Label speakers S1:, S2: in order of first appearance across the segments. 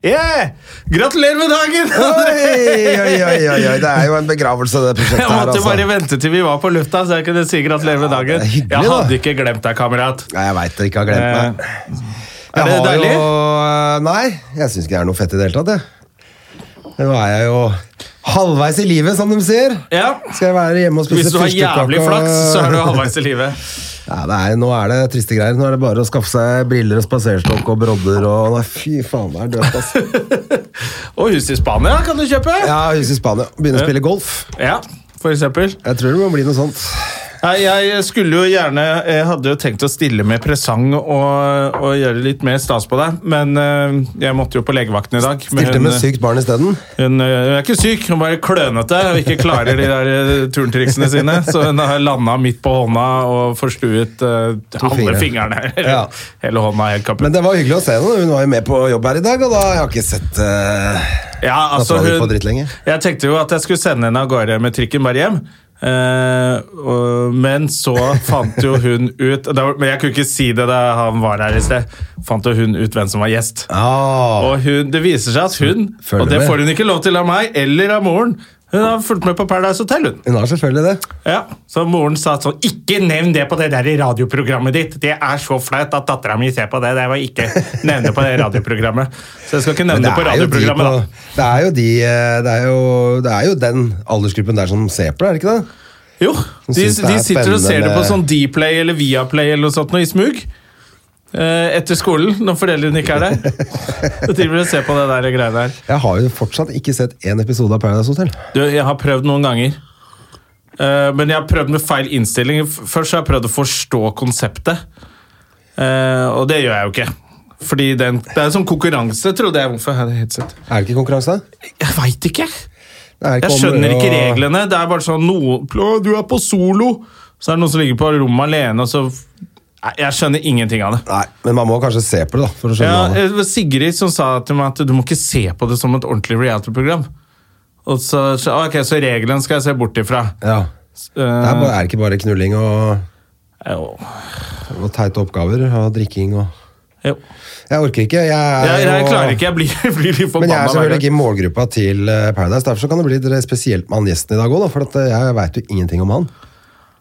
S1: Yeah! Gratulerer med dagen!
S2: Oi, oi, oi, oi, oi. Det er jo en begravelse, det prosjektet
S1: Jeg
S2: her.
S1: måtte
S2: Altså.
S1: bare vente til vi var på lufta, så jeg kunne si gratulerer med dagen.
S2: det er hyggelig,
S1: Jeg
S2: da.
S1: hadde ikke glemt deg, kamerat.
S2: Nei, jeg veit dere ikke har glemt meg.
S1: Eh,
S2: Jeg
S1: det
S2: har
S1: deilig?
S2: Jo, eh, nei, jeg syns ikke det er noe fett i det hele tatt. Jeg. Nå er jeg jo halvveis i livet, som de sier.
S1: ja.
S2: Skal jeg være hjemme og spise
S1: Hvis du har
S2: fyrstekake
S1: jævlig
S2: og-
S1: flaks, så er du halvveis i live.
S2: Ja, det er, nå er det triste greier. Nå er det bare å skaffe seg briller og spaserstokk og brodder og nei, Fy faen, det er dødt, altså.
S1: Og hus i Spania kan du kjøpe.
S2: Jeg har hus i Spania. Begynne å spille golf.
S1: Ja, for eksempel.
S2: Jeg tror det må bli noe sånt.
S1: Nei, jeg skulle jo gjerne Jeg hadde jo tenkt å stille med presang og, og gjøre litt mer stas på deg, men eh, jeg måtte jo på legevakten i dag. men
S2: Stilte
S1: hun-
S2: med sykt barn isteden.
S1: Hun øh, er ikke syk, hun er bare klønete og ikke klarer de der øh, turntriksene sine. Så hun har landa midt på hånda og forstuet øh, alle
S2: fingre.
S1: fingrene.
S2: Ja.
S1: Hele hånda er
S2: Men
S1: helt kaputt.
S2: det var hyggelig å se henne. Hun var jo med på jobb her i dag, og da jeg har jeg ikke sett eh,
S1: Ja, altså,
S2: Datteren din får
S1: hun,
S2: dritt lenge.
S1: jeg tenkte jo at jeg skulle sende henne av gårde med trikken bare hjem. Eh, og, men så fant jo hun ut det var, Men jeg kunne ikke si det da han var her i sted. Fant jo hun ut hvem som var gjest.
S2: ah,
S1: Og hun, det viser seg at hun,
S2: Følger
S1: og det
S2: med.
S1: får hun ikke lov til av meg eller av moren, hun har fulgt med på Paradise Hotel, hun.
S2: Hun har selvfølgelig det.
S1: Ja, så moren sa sånn Ikke nevn det på det der i radioprogrammet ditt! Det er så flaut at dattera mi ser på det. Det var ikke nevne på det radioprogrammet. Så jeg skal ikke nevne det, på
S2: jo de
S1: radioprogrammet,
S2: på- det er jo de eh, det er jo, det er jo den aldersgruppen der som ser på det, er det ikke det?
S1: da. Jo, de,
S2: synes det
S1: de
S2: er
S1: sitter og ser det på
S2: spennende.
S1: sånn Dplay eller Viaplay eller noe sånt noe i smug. Eh, etter skolen, når foreldrene ikke er der. Så driver de og ser på det der greiene der.
S2: Jeg har jo fortsatt ikke sett én episode av Paradise Hotel.
S1: Du, jeg har prøvd noen ganger. Eh, men jeg har prøvd med feil innstilling. F- Først har jeg prøvd å forstå konseptet, Eh, og det gjør jeg jo ikke. Fordi den, Det er en sånn konkurranse, trodde jeg. Hvorfor hadde jeg headset?
S2: Er det ikke konkurranse?
S1: Jeg veit ikke!
S2: Det er ikke
S1: Jeg
S2: om-
S1: skjønner ikke
S2: og-
S1: reglene. Det er bare sånn noe, «Å, Du er på solo! Så er det noen som ligger på rommet alene, og så Nei, Jeg skjønner ingenting av det.
S2: Nei, men man må kanskje se på det, da. For å skjønne
S1: Ja, eh,
S2: hva det.
S1: det var Sigrid som sa til meg at du må ikke se på det som et ordentlig reality-program. Og så, så, ok, så regelen skal jeg se bort ifra.
S2: Ja. Det er, bare, er det ikke bare knulling og,
S1: Eh, jo.
S2: og teite oppgaver og drikking og
S1: Jo.
S2: Jeg orker ikke. Jeg, er
S1: Jeg, jeg
S2: jo-
S1: klarer ikke, jeg blir, jeg blir litt
S2: Men jeg er
S1: forbanna. hver
S2: selvfølgelig
S1: gang.
S2: ikke i målgruppa til eh, Paradise. Derfor så kan det bli litt spesielt med han gjesten i dag òg, da, for at eh, jeg veit jo ingenting om han.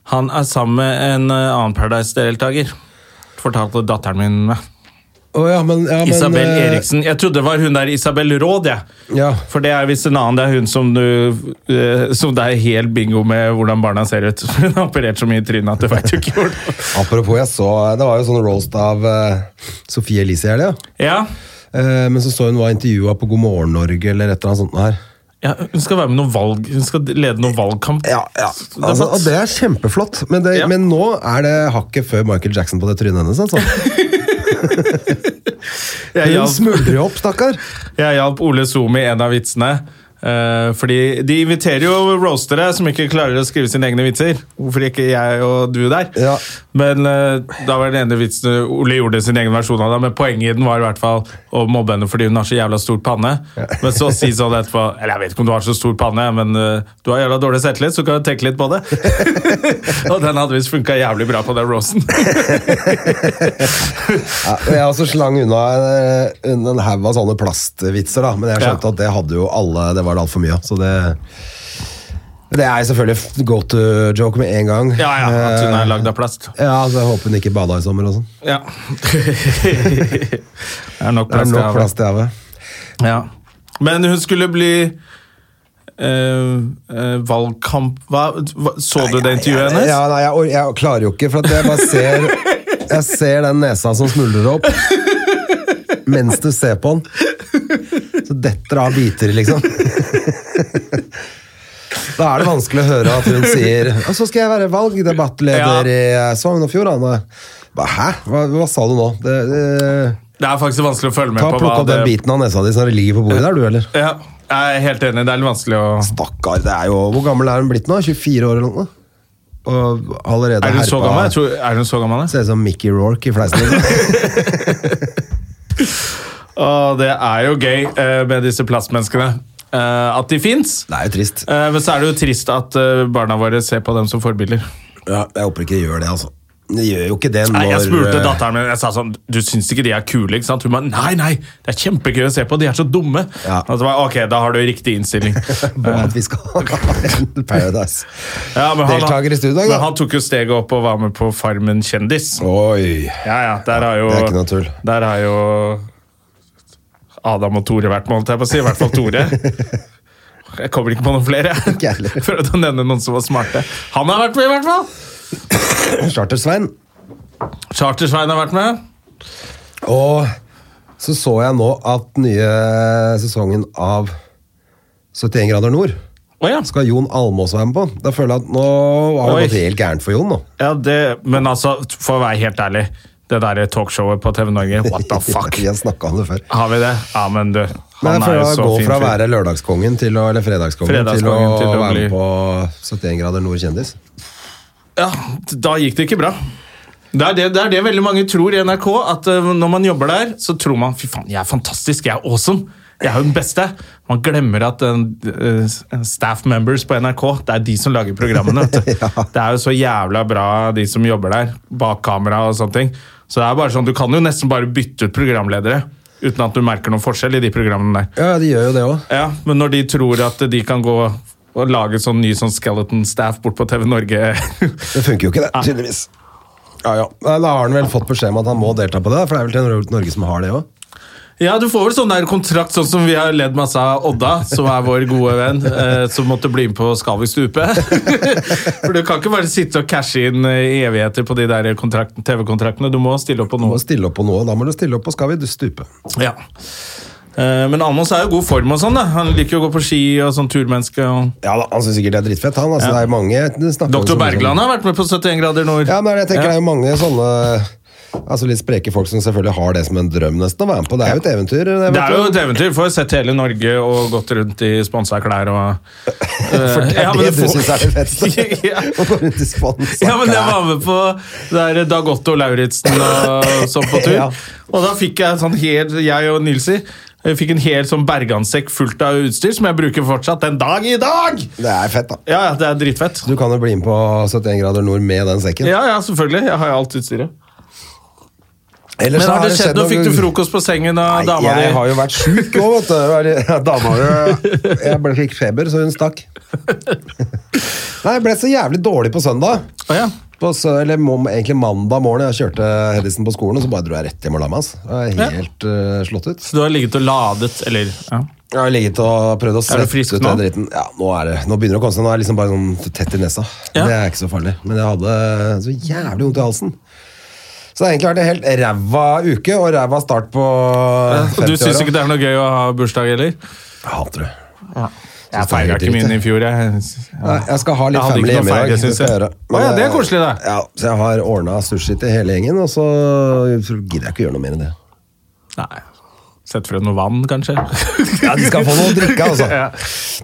S1: Han er sammen med en eh, annen Paradise-deltaker. Fortalte datteren min meg.
S2: Å ja, men, ja, men
S1: Isabel
S2: eh,
S1: Eriksen. Jeg trodde det var hun der Isabel Råd, jeg.
S2: Ja.
S1: For det er visst en annen. Det er hun som du eh, Som det er helt bingo med hvordan barna ser ut. Hun har operert så mye i trynet at du veit jo ikke hvordan
S2: Apropos, jeg så Det var jo sånn roast av eh, Sofie Elise i helga.
S1: ja.
S2: Eh, men så så hun var intervjua på God morgen Norge eller et eller annet sånt noe her.
S1: ja, hun skal være med noe valg Hun skal lede noe valgkamp. Det er
S2: Altså,
S1: flott.
S2: og det er kjempeflott, men, det,
S1: Ja.
S2: men nå er det hakket før Michael Jackson på det trynet hennes. Altså.
S1: Jeg
S2: Hun
S1: hjalp-
S2: smuldrer jo opp, stakkar.
S1: Jeg hjalp Ole Zoom i en av vitsene. eh, fordi de inviterer jo roastere som ikke klarer å skrive sine egne vitser. Hvorfor ikke jeg og du der?
S2: Ja.
S1: Men eh, da var den ene vitsen Ole gjorde sin egen versjon av det, men poenget i den var i hvert fall å mobbe henne fordi hun har så jævla stor panne. Men så si sånn etterpå Eller jeg vet ikke om du har så stor panne, men eh, du har jævla dårlig selvtillit, så kan du tenke litt på det. og den hadde visst funka jævlig bra på den roasten.
S2: Ja, og jeg også slang unna eh, en, en haug av sånne plastvitser, da. Men jeg skjønte
S1: Ja.
S2: at det hadde jo alle Det var det altfor mye av. Så det Det er selvfølgelig go to joke med en gang.
S1: ja, ja, at hun
S2: Eh,
S1: er lagd av plast.
S2: ja, så jeg håper hun ikke bada i sommer og sånn.
S1: Ja. det er nok
S2: Det er
S1: plast. i
S2: nok
S1: havet.
S2: plast i havet.
S1: Ja. Men hun skulle bli eh, eh, valgkamp hva, hva, Så du det intervjuet hennes?
S2: Ja, nei, jeg, or- jeg klarer jo ikke, for at jeg bare ser Jeg ser den nesa som smuldrer opp mens du ser på den. Så detter det av biter, liksom. Da er det vanskelig å høre at hun sier Og så skal jeg være valgdebattleder i eh, Sogn og Fjordane. Bare, Hæ? Hva, hva sa du nå? Det, det,
S1: Det er faktisk vanskelig å følge med
S2: Ta
S1: på
S2: Plukk opp den biten av nesa di som ligger på bordet der, du, eller?
S1: Ja, jeg er helt enig. Det er litt vanskelig å
S2: Stakkar, det er jo Hvor gammel er hun blitt nå? 24 år eller noe? Og allerede
S1: Er hun så
S2: herpa-
S1: gammel? Jeg tror, er hun så gammel? da?
S2: Ser ut som Mickey Rourke i fleisen. din.
S1: Å, det er jo gøy eh, med disse plastmenneskene. Eh, at de fins.
S2: Det er jo trist.
S1: men så er det jo trist at eh, barna våre ser på dem som forbilder.
S2: Ja, jeg håper ikke de gjør det, altså. De gjør jo ikke det når
S1: Nei, jeg spurte
S2: eh,
S1: datteren min Jeg sa sånn Du syns ikke de er kule? ikke sant? Hun bare Nei, nei! Det er kjempegøy å se på. De er så dumme.
S2: Ja.
S1: Og så bare, ok, da har du riktig innstilling.
S2: på at vi skal ha en Paradise.
S1: Ja, men
S2: Deltaker i studio, da.
S1: Men han tok jo steget opp og var med på Farmen kjendis.
S2: Oi.
S1: Ja, ja, der har jo
S2: Det er ikke noe tull.
S1: Der har jo Adam og Tore vært med, holdt jeg på å si. I hvert fall Tore. Jeg kommer ikke på noen flere.
S2: Ikke jeg heller.
S1: jeg. Prøvde å nevne noen som var smarte. Han har vært med, i hvert fall!
S2: Charter-Svein.
S1: Charter-Svein har vært med.
S2: Og så så jeg nå at nye sesongen av 71 grader nord
S1: Å ja.
S2: skal Jon Almås være med på. Da føler jeg at nå har
S1: Oi.
S2: det gått helt gærent for Jon. nå.
S1: ja det, men altså, for å være helt ærlig, det derre talkshowet på TV Norge, what the fuck?
S2: Vi har snakka om det før.
S1: Har vi det? Ja, men du.
S2: Men jeg
S1: Han er
S2: føler
S1: jo
S2: at
S1: så
S2: Gå
S1: fin
S2: fra å
S1: fyr.
S2: være lørdagskongen til å, eller fredagskongen, til
S1: Fredagskongen
S2: å,
S1: til å
S2: være
S1: bli-
S2: med på 71 grader nord kjendis.
S1: Ja, da gikk det ikke bra. Det er det, det er det veldig mange tror i NRK, at eh, når man jobber der, så tror man fy faen, jeg er fantastisk, jeg er awesome. Jeg er jo den beste. Man glemmer at eh, eh, staff members på NRK, det er de som lager programmene. Vet du. Det er jo så jævla bra, de som jobber der, bak kamera og sånne ting. Så det er bare sånn, du kan jo nesten bare bytte ut programledere, uten at du merker noen forskjell i de programmene der.
S2: Ja, de gjør jo det òg.
S1: Ja, men når de tror at de kan gå og lage sånn ny sånn skeleton staff bort på TV Norge
S2: Det funker jo ikke,
S1: Ah.
S2: det, tydeligvis. Ja, ja. Nei, Da har han vel fått beskjed om at han må delta på det, for det er vel til Norge som har det òg.
S1: Ja, du får vel sånn der kontrakt, sånn som vi har ledd masse av Odda, som er vår gode venn, eh, som måtte bli med på Skal vi stupe? For du kan ikke bare sitte og cashe inn eh, i evigheter på de der kontrakt- TV-kontraktene. Du må stille opp på
S2: Du må
S1: noe.
S2: stille opp på noe, da må du stille opp på Skal vi stupe.
S1: Ja. Eh, Men Almås er jo god form og sånn, da. Han liker jo å gå på ski og sånn turmenneske. Og...
S2: Ja da, Han syns sikkert det er drittfett, han. Altså, Det er jo mange det snakker om
S1: Dr.
S2: som-
S1: Bergland har vært med på 71 grader nord.
S2: Ja, men jeg tenker
S1: Ja.
S2: Det er jo mange sånne altså litt spreke folk som selvfølgelig har det som en drøm nesten å være med på. Det er jo et eventyr. Det, vet
S1: Det er jo
S2: du.
S1: et eventyr. Får sett hele Norge og gått rundt i sponsa klær og eh,
S2: For det er
S1: Ja, men
S2: det
S1: det
S2: du
S1: får-
S2: syns er det feteste.
S1: Ja.
S2: Å gå rundt i spansk
S1: Ja, men jeg
S2: klær.
S1: var med på det der Dag Otto Lauritzen og sånn på tur.
S2: Ja.
S1: Og da fikk jeg sånn hel, jeg og Nilsi jeg fikk en hel sånn bergansekk fullt av utstyr som jeg bruker fortsatt den dag i dag!
S2: Det er fett, da.
S1: Ja, ja, det er dritfett.
S2: Du kan jo bli med på 71 grader nord med den sekken.
S1: Ja, ja, selvfølgelig. Jeg har jo alt utstyret.
S2: Ellers
S1: Men
S2: så
S1: har det skjedd noe? Fikk du
S2: noe-
S1: frokost på sengen av dama
S2: Nei,
S1: di?
S2: jeg har jo vært sjuk òg, vet du. Det var- Dama mi Jeg ble, fikk feber, så hun stakk. Nei, jeg ble så jævlig dårlig på søndag.
S1: Å, ja.
S2: På sø, eller må, egentlig mandag morgen. Jeg kjørte Hedisen på skolen, og så bare dro jeg rett hjem og la meg. ass. Jeg er helt eh, slått ut.
S1: Så du har ligget og ladet, eller ja.
S2: Jeg har ligget og prøvd å
S1: Er du
S2: svette
S1: frisk
S2: ut
S1: nå?
S2: den dritten. Ja, nå, er det, nå begynner det å komme seg. Nå er jeg liksom bare sånn tett i nesa.
S1: Ja.
S2: Det er ikke så farlig. Men jeg hadde så jævlig vondt i halsen. Så det har egentlig vært en helt ræva uke, og ræva start på
S1: Du
S2: 50
S1: syns ikke det er noe gøy å ha bursdag, eller?
S2: Jeg hater det.
S1: Jeg
S2: det er
S1: feira
S2: helt
S1: ikke min
S2: dritt,
S1: i fjor, jeg.
S2: Nei, jeg skal ha litt
S1: Jeg hadde
S2: family
S1: ikke noe
S2: hjemme i dag.
S1: ferie, synes
S2: skal
S1: jeg.
S2: gjøre. eh,
S1: Å ja, det er koselig, da.
S2: Ja, så jeg har ordna sushi til hele gjengen, og så gidder jeg ikke gjøre noe mer enn det.
S1: Nei. Sett frem noe vann, kanskje?
S2: Ja, De skal få noe å drikke, altså.
S1: Ja.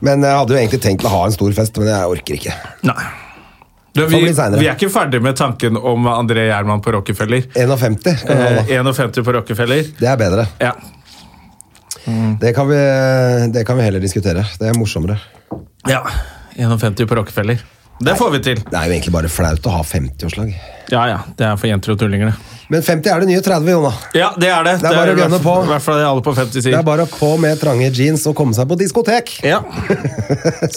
S2: Men eh, jeg hadde jo egentlig tenkt å ha en stor fest, men jeg orker ikke.
S1: Nei. Du,
S2: Får
S1: vi,
S2: bli senere.
S1: vi er ikke ferdig med tanken om André Gjerman på Rockefeller.
S2: 51 kan vi
S1: Eh,
S2: holde.
S1: 51 på Rockefeller.
S2: Det er bedre.
S1: Ja.
S2: Det kan, vi, det kan vi heller diskutere. Det er morsommere.
S1: ja. 51 på Rockefeller. Det får vi til.
S2: Det er jo egentlig bare flaut å ha 50-årslag.
S1: Ja, ja. Det er for jenter og tullinger, det.
S2: Men 50 er det nye 30, Jonna.
S1: Ja, det er det.
S2: Det er bare å
S1: i hvert-
S2: gønne på.
S1: I hvert fall det alle på 50
S2: Det
S1: sier.
S2: er bare å på med trange jeans og komme seg på diskotek,
S1: Ja.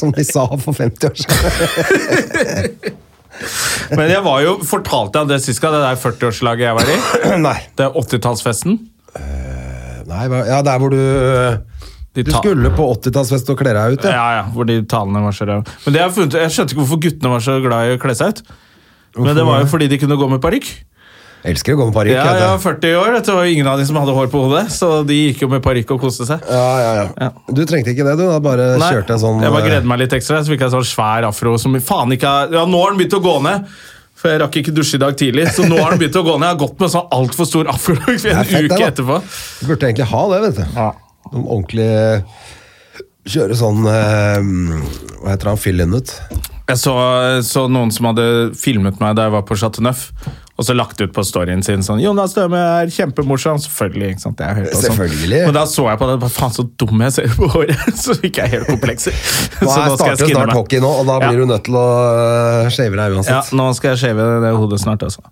S2: som de sa for 50 år siden.
S1: Men jeg var jo fortalte jeg det sist gang, det der 40-årslaget jeg var i.
S2: Nei.
S1: Det er 80-tallsfesten.
S2: Nei, hva- ja, der hvor du eh,
S1: De
S2: Du
S1: ta-
S2: skulle på 80-tallsfest og kle deg ut, ja.
S1: Ja, ja, hvor de talene var så ræva. Men det jeg, har funnet, jeg skjønte ikke hvorfor guttene var så glad i å kle seg ut. Men det var jo fordi de kunne gå med parykk.
S2: Jeg Elsker å gå med parykk.
S1: Ja,
S2: vet
S1: jeg var
S2: du.
S1: 40 år, det var jo ingen av de som hadde hår på hodet, så de gikk jo med parykk og koste seg.
S2: ja, ja, ja.
S1: Ja.
S2: Du trengte ikke det, du. Da bare
S1: Nei,
S2: kjørte en sånn
S1: jeg bare
S2: eh,
S1: gledde meg litt ekstra, så fikk jeg sånn svær afro som faen ikke har Ja, nå har den begynt å gå ned! For jeg rakk ikke dusje i dag tidlig, så nå har den begynt å gå ned. Jeg har gått med sånn altfor stor afrolokk
S2: Det
S1: en
S2: er fett, det,
S1: uke
S2: da.
S1: etterpå.
S2: Du burde egentlig ha det, vet du. Noen ordentlig Kjøre sånn eh, Hva heter han? Fill-in ut.
S1: Jeg så, så noen som hadde filmet meg da jeg var på Chateau Neuf, og så lagt ut på storyen sin sånn 'Jonas Døme er kjempemorsom.' Selvfølgelig. ikke sant? Jeg har hørt det og sånn.
S2: Selvfølgelig.
S1: Men da så jeg på det. Hva faen, så dum jeg ser ut på håret! Så fikk jeg helt komplekser.
S2: Nå
S1: Så
S2: er starter snart hockey nå, og da
S1: Ja.
S2: blir du nødt til å eh, shave deg
S1: Ja,
S2: uansett.
S1: nå skal jeg shave det hodet snart, altså.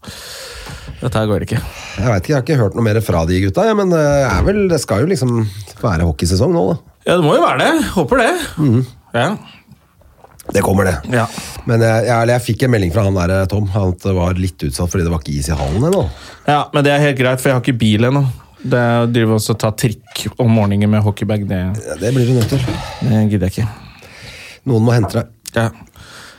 S1: Dette her går ikke.
S2: Jeg vet ikke, jeg har ikke hørt noe mer fra de gutta, jeg, men det, er vel, det skal jo liksom være hockeysesong nå, da.
S1: Ja, det må jo være det. Håper det.
S2: Mhm.
S1: Ja.
S2: Det kommer, det.
S1: Ja.
S2: Men jeg, jeg, eller jeg fikk en melding fra han der, eh, Tom, at det var litt utsatt fordi det var ikke is i hallen ennå.
S1: ja, men det er helt greit, for jeg har ikke bil ennå. Det å drive også ta trikk om morgenen med hockeybag, det,
S2: Ja, det blir du nødt til.
S1: det gidder jeg ikke.
S2: Noen må hente deg.
S1: Ja.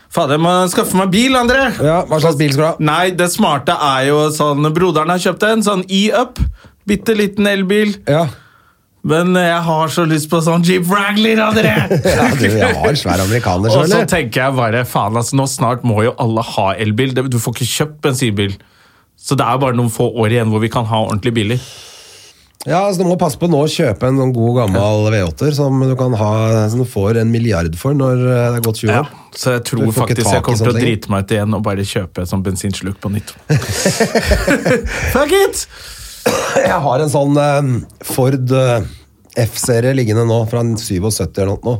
S1: Fader, jeg må skaffe meg bil, André!
S2: Ja, hva slags bil skal du ha?
S1: Nei, det smarte er jo sånn Broderen har kjøpt en sånn E-Up. Bitte liten elbil.
S2: Ja,
S1: Men jeg har så lyst på sånn Jeep Wrangler, André!
S2: ja du, jeg har en svær amerikaner,
S1: Og så
S2: selvfølgelig.
S1: tenker jeg bare faen, altså, nå snart må jo alle ha elbil. Det- Du får ikke kjøpt bensinbil. Så det er bare noen få år igjen hvor vi kan ha ordentlig biler.
S2: Ja, så du må passe på nå å kjøpe en sånn god gammel V8-er som du kan ha, som du får en milliard for når eh, det er gått 20
S1: Ja.
S2: år.
S1: Så jeg tror
S2: Du får ikke
S1: faktisk jeg
S2: tak i
S1: kommer til å
S2: sånne ting.
S1: drite meg ut igjen og bare kjøpe et sånt bensinsluk på nytt. Fuck it!
S2: Jeg har en sånn eh, Ford eh, F-serie liggende nå, fra en 77 eller noe. nå.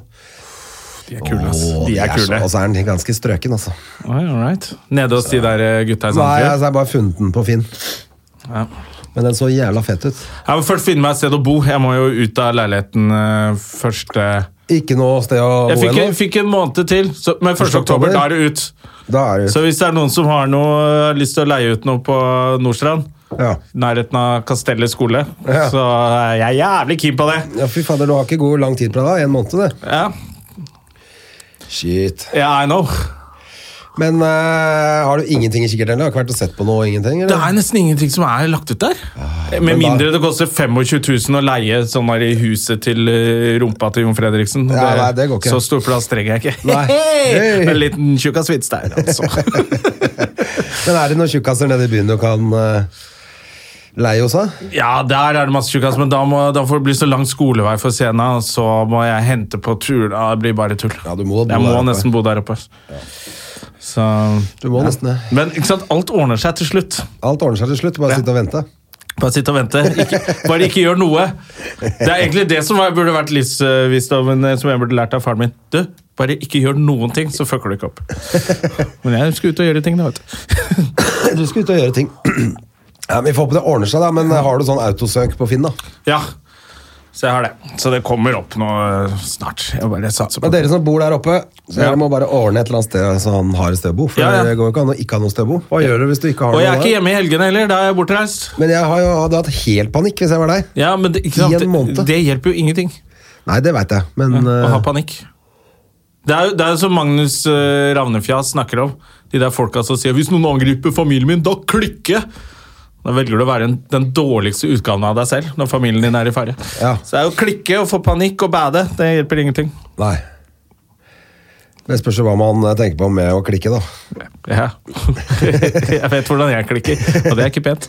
S1: De er kule, ass.
S2: Åh,
S1: De er
S2: så-
S1: kule.
S2: Og så er den ganske strøken, altså.
S1: Oi, all right. Nede hos de der eh, gutta i
S2: Nei,
S1: Sandefjord?
S2: altså, jeg har bare funnet den på Finn.
S1: Ja.
S2: Men den så jævla fett ut.
S1: Jeg må først finne meg et sted å bo. Jeg må jo ut av leiligheten eh, først eh.
S2: Ikke noe sted å
S1: Jeg
S2: bo
S1: fikk,
S2: ennå.
S1: fikk en måned til, så, men 1.
S2: Første
S1: oktober,
S2: oktober.
S1: da er det ut.
S2: Da er det
S1: Så hvis det er noen som har noe, eh, lyst til å leie ut noe på Nordstrand,
S2: Ja.
S1: nærheten av Kastellet skole,
S2: Ja.
S1: så er jeg jævlig keen på det.
S2: ja, fy fader, du har ikke god lang tid på deg. da. En måned, det.
S1: Ja,
S2: Shit.
S1: ja I know.
S2: Men eh, har du ingenting i kikkerten? Har du ikke vært og sett på noe? Ingenting?
S1: Det er nesten ingenting som er lagt ut der. Eh, Med
S2: men da-
S1: mindre det koster 25 000 å leie sånn her i huset til eh, rumpa til Jon Fredriksen.
S2: Ja, nei, det går ikke.
S1: Så stor plass trenger jeg ikke.
S2: Nei.
S1: Hei!
S2: Hei.
S1: En liten tjukkasvits der, altså.
S2: Men er det noen tjukkaser nede i byen du kan eh, leie hos? da?
S1: Ja, der er det masse tjukkas, men da, må, da får det bli så lang skolevei for scenen, og så må jeg hente på tur. Ja, det blir bare tull.
S2: Ja, du må bo
S1: jeg må
S2: der oppe.
S1: nesten bo der oppe. Så,
S2: Du må nesten det.
S1: men ikke sant, alt ordner seg til slutt.
S2: Alt ordner seg til slutt. Bare sitte og vente.
S1: Bare sitt og vente. Ikke, bare ikke gjør noe. Det er egentlig det som var- burde vært livsvisdommen eh, som jeg burde lært av faren min. Du, bare ikke gjør noen ting, så fucker du ikke opp. Men jeg skal ut og gjøre ting, da, vet du.
S2: Du skal ut og gjøre ting. Ja, men Vi får håpe det ordner seg, da. Men eh, har du sånn autosøk på Finn, da?
S1: Ja, så jeg har det. Så det kommer opp nå eh, snart. Jeg bare satser på
S2: Men
S1: det.
S2: dere som bor der oppe, så
S1: Ja.
S2: dere må bare ordne et eller annet sted så han har et sted å bo. For
S1: Ja, ja.
S2: det går jo ikke an å ikke ha noe sted å bo. Hva gjør du hvis du ikke har
S1: Og jeg er
S2: noe?
S1: ikke
S2: der?
S1: hjemme i helgene heller, da er jeg bortreist.
S2: Men jeg har jo hadde hatt helt panikk hvis jeg var deg.
S1: Ja, men det, ikke
S2: I
S1: sant?
S2: en måned.
S1: Det, det hjelper jo ingenting
S2: Nei, det veit jeg, men
S1: å ha
S2: eh,
S1: panikk. Det er jo det er jo som Magnus eh, Ravnefjas snakker om. De der folka som sier 'hvis noen angriper familien min, da klikker jeg'. Da velger du å være en, den dårligste utgaven av deg selv når familien din er i fare.
S2: Ja.
S1: Så det er jo å klikke og få panikk og bade. Det hjelper ingenting.
S2: Nei. Det spørs jo hva man eh, tenker på med å klikke, da.
S1: Ja. Jeg vet hvordan jeg klikker, og det er ikke pent.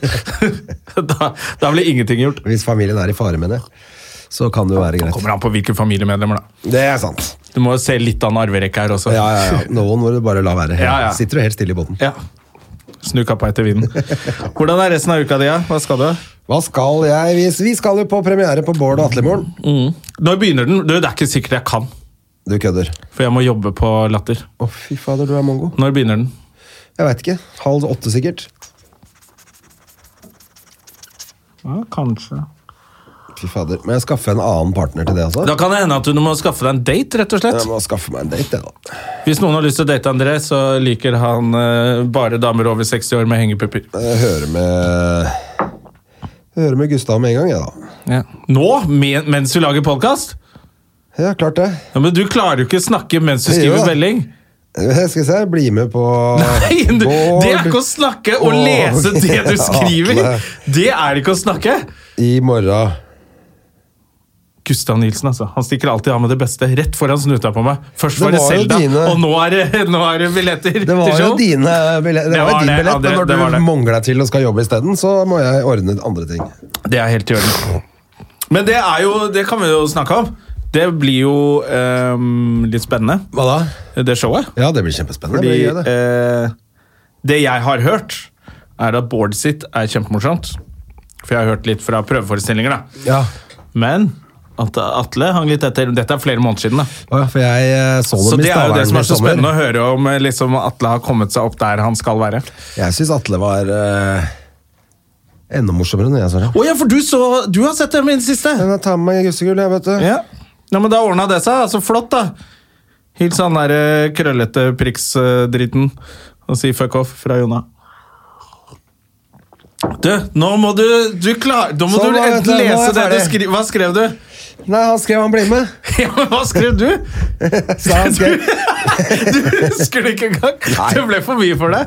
S1: Da, da blir ingenting gjort.
S2: Hvis familien er i fare, mener jeg. Så kan det jo være greit.
S1: Kommer an på hvilke familiemedlemmer, da.
S2: Det er sant.
S1: Du må jo se litt an arverekka her også.
S2: Ja, ja, ja. Noen må du bare la være.
S1: Ja, ja.
S2: Sitter du helt stille i båten.
S1: Ja. Snu kappa etter vinden. Hvordan er resten av uka di? ja? Hva skal du?
S2: Hva skal jeg hvis Vi skal jo på premiere på Bård og Atlemor.
S1: Når begynner den? Du, det er ikke sikkert jeg kan,
S2: Du kødder.
S1: for jeg må jobbe på Latter.
S2: Å, fy fader, du er mongo.
S1: Når begynner den?
S2: Jeg veit ikke. Halv åtte, sikkert.
S1: Ja, kanskje.
S2: Fy fader. Men jeg skaffer en annen partner til det, altså.
S1: Da kan det hende at du må skaffe deg en date, rett og slett.
S2: Jeg må skaffe meg en date, jeg, da.
S1: Hvis noen har lyst til å date André, så liker han eh, bare damer over 60 år med hengepupper.
S2: Jeg hører Eh, med jeg hører med Gustav med en gang, jeg, da.
S1: Ja. Nå? Men, mens vi lager podkast?
S2: Ja, klart det.
S1: Ja, men du klarer jo ikke å snakke mens du
S2: Jeg gjør
S1: skriver
S2: det.
S1: melding.
S2: Eh, Jeg skal se, bli med på
S1: Nei, du, det er ikke å snakke og
S2: Bård-
S1: lese det du skriver!
S2: Atle.
S1: Det er ikke å snakke!
S2: I morgen.
S1: Gustav Nilsen, altså. Han stikker alltid av med det beste. Rett foran snuta på meg. Først
S2: Det
S1: var det
S2: var jo
S1: Selda,
S2: dine-
S1: og nå er det, nå er det billetter
S2: Det var
S1: til
S2: jo
S1: show.
S2: dine billett, det
S1: Det
S2: var jo
S1: var
S2: din
S1: det,
S2: billett,
S1: ja, det-
S2: men
S1: det var
S2: når du
S1: det.
S2: mangler deg til og skal jobbe isteden, så må jeg ordne andre ting.
S1: Det er helt i orden. Men det er jo Det kan vi jo snakke om. Det blir jo ehm, litt spennende,
S2: Hva da?
S1: det showet.
S2: Ja, det blir kjempespennende.
S1: Fordi
S2: det blir gøy, det.
S1: eh, det jeg har hørt, er at Bård sitt er kjempemorsomt. For jeg har hørt litt fra prøveforestillinger, da.
S2: Ja.
S1: Men at Atle hang litt etter. Dette er flere måneder siden. da.
S2: Å ja, for jeg eh, så dem
S1: Så
S2: i
S1: det er jo
S2: Stavern
S1: det som er
S2: i
S1: så
S2: sommer.
S1: spennende å høre om eh, liksom, Atle har kommet seg opp der han skal være.
S2: Jeg syns Atle var eh, enda morsommere enn jeg, Sverre.
S1: Å ja, for du, så, du har sett dem i det siste!
S2: Men Jeg tar med meg gussegull, jeg, vet du.
S1: Ja. ja, men da ordna det seg. Altså, flott, da. Hils han der eh, krøllete priks-driten og si fuck off fra Jonna. Du, nå må du du klar, Da må
S2: Sånn,
S1: du
S2: da, vet du,
S1: enten
S2: nå er
S1: lese
S2: jeg
S1: det du
S2: ferdig.
S1: skrev Hva skrev du?
S2: Nei, han skrev han blir med.
S1: Ja, men hva skrev du?
S2: Så han skrev,
S1: Du husker det ikke engang! Det ble for mye for deg.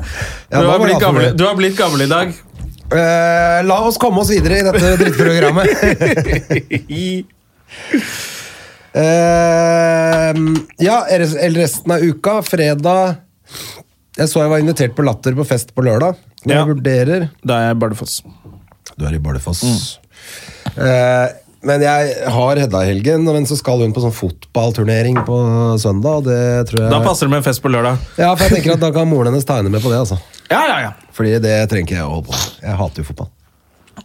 S2: Ja,
S1: Du
S2: da
S1: har
S2: var det
S1: blitt
S2: alt for
S1: gammel,
S2: mye.
S1: du har blitt gammel i dag.
S2: eh, la oss komme oss videre i dette drittprogrammet. Eh, ja, res- eller resten av uka. Fredag Jeg så jeg var invitert på Latter på fest på lørdag. Jeg
S1: Ja.
S2: vurderer
S1: Da er jeg Bardufoss.
S2: Du er i Bardufoss. Eh, men jeg har Hedda i helgen, men så skal hun på sånn fotballturnering på søndag. og Det tror jeg
S1: Da passer det med en fest på lørdag.
S2: Ja, for jeg tenker at Da kan moren hennes ta henne med på det. altså
S1: Ja, ja, ja.
S2: Fordi det trenger ikke jeg å holde på med. Jeg hater jo fotball.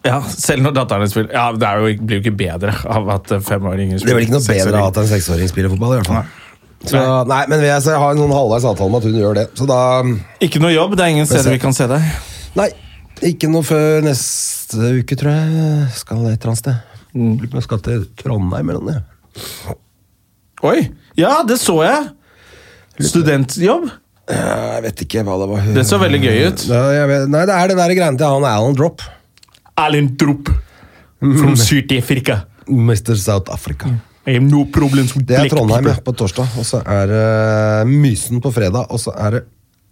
S1: Ja, selv når datteren spiller Ja, det er jo, ikke- blir jo ikke bedre av at eh, femåringer
S2: Det er
S1: spiller
S2: vel ikke noe bedre at en seksåring spiller fotball, i hvert fall. Så, nei, men jeg, så jeg har en sånn halvveis avtale med at hun gjør det. Så da
S1: Ikke noe jobb, det er ingen steder
S2: se-
S1: vi kan se deg.
S2: Nei, ikke noe før neste uke, tror jeg. Skal et eller annet sted. Lurer på om Jeg skal til Trondheim eller noe. jeg.
S1: Oi! Ja, det så jeg! Studentjobb.
S2: Jeg vet ikke hva det var hun
S1: Det så veldig gøy ut.
S2: Ja, jeg vet, nei, det er den der greiene til han Alan Drop.
S1: Alan Drup from Sør-Afrika.
S2: Mr. South Africa.
S1: I have no problems with
S2: Det er
S1: black
S2: Trondheim ja,
S1: people.
S2: på torsdag, og så er det Mysen på fredag, og så er det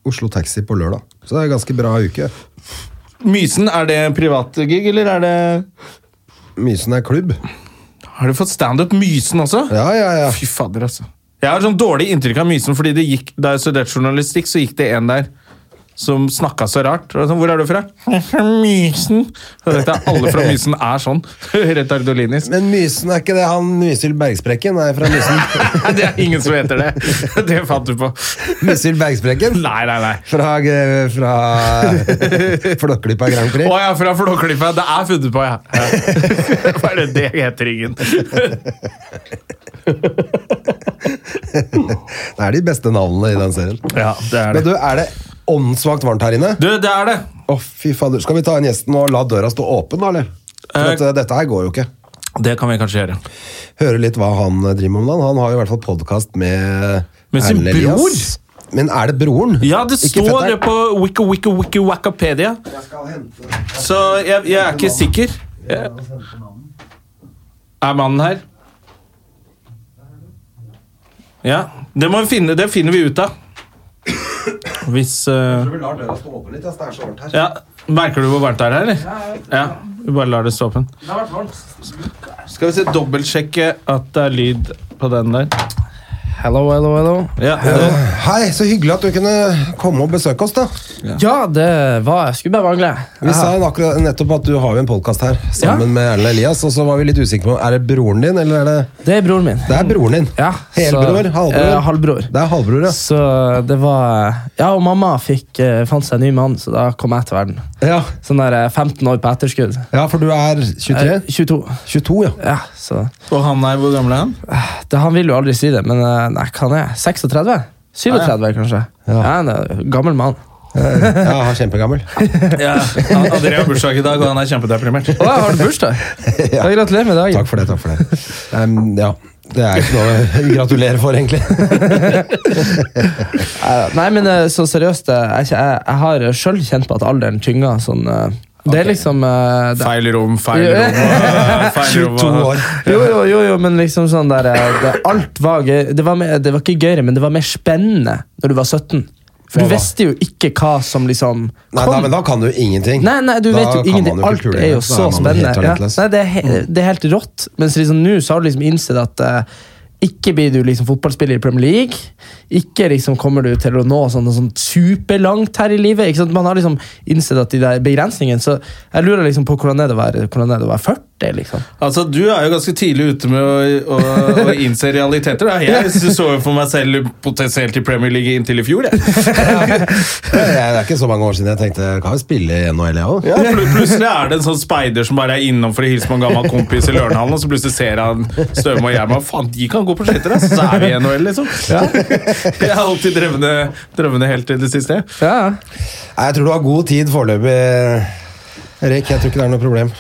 S2: Oslo Taxi på lørdag. Så det er en ganske bra uke.
S1: Mysen, er det en privat gig, eller er det
S2: Mysen er klubb.
S1: Har du fått standup Mysen også?
S2: Ja, ja, ja.
S1: Fy fader, altså. Jeg har sånn dårlig inntrykk av Mysen, fordi det gikk, da jeg studerte journalistikk, så gikk det en der som snakka så rart. Og jeg sånn, Hvor er du fra? Mysen. Så tenkte jeg, alle fra Mysen er sånn. Retardolinisk.
S2: Men Mysen er ikke det han Mysil Bergsprekken er fra Mysen.
S1: Nei, det er ingen som heter det. Det fant du på.
S2: Mysil Bergsprekken?
S1: Nei, nei, nei.
S2: Fra, eh, fra Flåklypa Grand
S1: Å
S2: Prix.
S1: ja, fra Flåklypa. Det er funnet på, ja. ja. Bare det heter ingen.
S2: Det er de beste navnene i den serien.
S1: Ja, det er
S2: Men du,
S1: det.
S2: er det åndssvakt varmt her inne?
S1: Du, det er det.
S2: Å, fy fader. Skal vi ta inn gjesten og la døra stå åpen, da, eller? For
S1: Eh.
S2: at, eh, dette her går jo ikke.
S1: Det kan vi kanskje gjøre.
S2: Høre litt hva han eh, driver med om dagen. Han har jo i hvert fall podkast med
S1: Med sin
S2: Erlend Elias. Men er det broren?
S1: Ja, det
S2: Ikke
S1: står
S2: fetteren?
S1: det på wiki wiki wiki wakapedia. Så jeg, jeg er ikke sikker. Jeg- Er mannen her? Ja. Det må vi finne, det finner vi ut av. Hvis eh,
S2: Vi lar døra stå åpen litt, ass. Det er så varmt her.
S1: Ja, Merker du hvor varmt det er her, eller? Ja, vi bare lar det stå åpen. Skal vi se, dobbeltsjekke at det er lyd på den der.
S3: Hello, hello, hello.
S1: Ja, det-
S2: Hei, så hyggelig at du kunne komme og besøke oss, da.
S3: Ja, det var jeg. Skulle bare mangle.
S2: Vi sa jo akkurat nettopp at du har jo en podkast her sammen
S3: Ja.
S2: med Erlend Elias, og så var vi litt usikre på er det broren din, eller er det
S3: Det er broren min.
S2: Det er broren din.
S3: Ja,
S2: Helbror?
S3: så-
S2: Halvbror?
S3: Eh, halvbror.
S2: Det er halvbror, ja.
S3: Så det var eh, Ja, og mamma fikk, eh, fant seg en ny mann, så da kom jeg til verden.
S2: ja.
S3: Sånn der eh, 15 år på etterskudd.
S2: Ja, for du er
S3: Eh,
S2: 23?
S3: 22.
S2: 22, ja.
S3: Ja, så eh,
S1: Og han er, hvor gammel er han?
S3: det, Han vil jo aldri si det, men eh, nei, hva han er 36? 37, kanskje.
S2: Ah, Ja.
S3: Ja, han er en gammel mann.
S2: Ja, han er kjempegammel.
S1: Ja, han- André har bursdag i dag, og han er kjempedeprimert.
S3: Å, jeg har du bursdag?
S2: Ja.
S3: Ja. Gratulerer med dagen.
S2: Takk for det, takk for det. Em, ja, det er ikke noe å gratulere for, egentlig.
S3: Neida. Nei, men eh, så seriøst, eh, jeg, er ikke- jeg, jeg har sjøl kjent på at alderen tynger sånn eh, Det er liksom eh, det,
S1: Feil rom, feil rom. og- Feil rom
S2: 22
S1: og-
S2: år.
S3: Jo, jo, jo, jo, men liksom sånn der eh, det, Alt var gøy. Det var, mer, det var ikke gøyere, men det var mer spennende når du var 17. For
S2: Hva
S3: du
S2: da?
S3: visste jo ikke hva som liksom
S2: Nei, da, men da kan du ingenting.
S3: Nei, nei, du
S2: Da
S3: vet jo
S2: kan
S3: ingenting.
S2: man
S3: Alt
S2: kulturlivet.
S3: er jo
S2: Da
S3: så
S2: man helt Mm.
S3: spennende. Ja.
S2: talentless.
S3: Nei, det, er he det er helt rått. Mens liksom nå så har du liksom innsett at eh, ikke blir du liksom fotballspiller i Premier League. Ikke liksom kommer du til å nå sånn, sånn superlangt her i livet. Ikke sant? Man har liksom innsett at de der begrensningene Så jeg lurer liksom på hvordan er det å være, hvordan er det å være 40, liksom.
S1: Altså, Du er jo ganske tidlig ute med å, å, å innse realiteter. Da. Jeg så jo for meg selv potensielt i Premier League inntil i fjor. Jeg.
S2: Det er det er ikke så mange år siden jeg tenkte jeg kan jo spille i NHL, jeg òg.
S1: Og pl- plutselig er det en sånn speider som bare er innom for å hilse på en gammel kompis i Lørenhallen, og så plutselig ser han Støme og Gjerman. Faen, de kan gå på skøyter, ass! Så er vi i NHL, liksom. Jeg har alltid drømmene, drømmene helt til det siste.
S3: Ja.
S2: Nei, Jeg tror du har god tid foreløpig, Erik. Jeg tror ikke det er noe problem.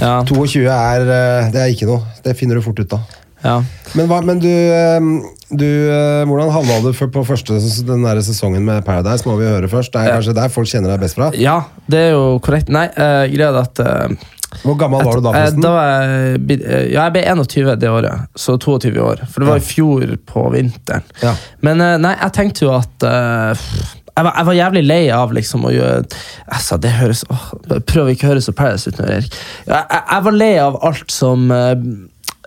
S3: Ja.
S2: 22 er eh, Det er ikke noe. Det finner du fort ut av.
S3: ja.
S2: Men, hva, men du, eh, du eh, Hvordan havna du for- på første, den der sesongen med Paradise? Må vi høre først. Det er kanskje der folk kjenner deg best fra.
S3: ja, det er jo korrekt. Nei, eh, greia er at eh,
S2: Hvor gammel var du da,
S3: Eh, Da
S2: forresten?
S3: var jeg, bi- eh, ja, jeg ble 21 det året, så 22 år. For det var i fjor på vinteren.
S2: Ja.
S3: Men eh, nei, jeg tenkte jo at eh, jeg, var, jeg var jævlig lei av liksom å gjøre altså, det høres, åh, Prøv å ikke å høre så Paradise ut nå, Erik. Jeg, jeg, jeg var lei av alt som eh,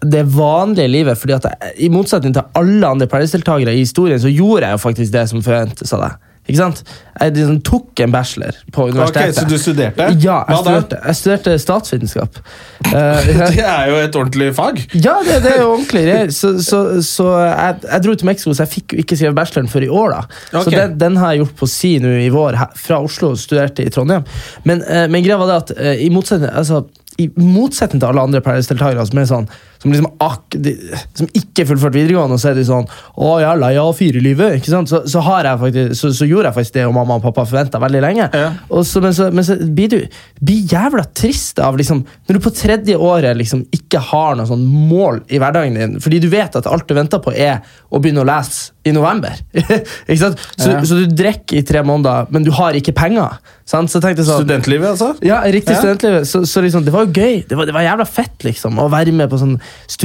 S3: det vanlige livet. fordi at jeg, I motsetning til alle andre Paradise-deltakere i historien, så gjorde jeg jo faktisk det som forventes av deg. Ikke sant? Jeg liksom tok en bachelor på universitetet.
S1: så du studerte?
S3: Ja,
S1: Hva
S3: jeg
S1: da?
S3: studerte, jeg studerte statsvitenskap. Eh,
S1: Det er jo et ordentlig fag.
S3: ja, det, det er jo ordentlig. Det. Så, så, så jeg, jeg dro til Mexico, så jeg fikk jo ikke skrevet bacheloren før i år. da. Så
S1: Ok.
S3: den, den har jeg gjort på si nå i vår, her, fra Oslo og studerte i Trondheim. Men, eh, men greia var det at eh, i motsetning, altså, i motsetning til alle andre Paradise-deltakere som er sånn, som liksom ak, de, som ikke fullførte videregående, og så er de sånn 'Å, jeg er lei av firelivet', ikke sant? Så, så, har jeg faktisk, så, så gjorde jeg faktisk det og mamma og pappa forventa veldig lenge. Og så, men, så, men så blir du blir jævla trist av liksom, når du på tredje året liksom ikke har noe sånn mål i hverdagen din, fordi du vet at alt du venter på, er å begynne å lese i november. ikke sant? Så, så du drikker i tre måneder, men du har ikke penger. Sant? Så tenkte jeg sånn
S1: Studentlivet, altså.
S3: ja, riktig
S1: Ja.
S3: studentlivet. Så, så liksom, det var jo gøy. Det var, det var jævla fett liksom, å være med på sånn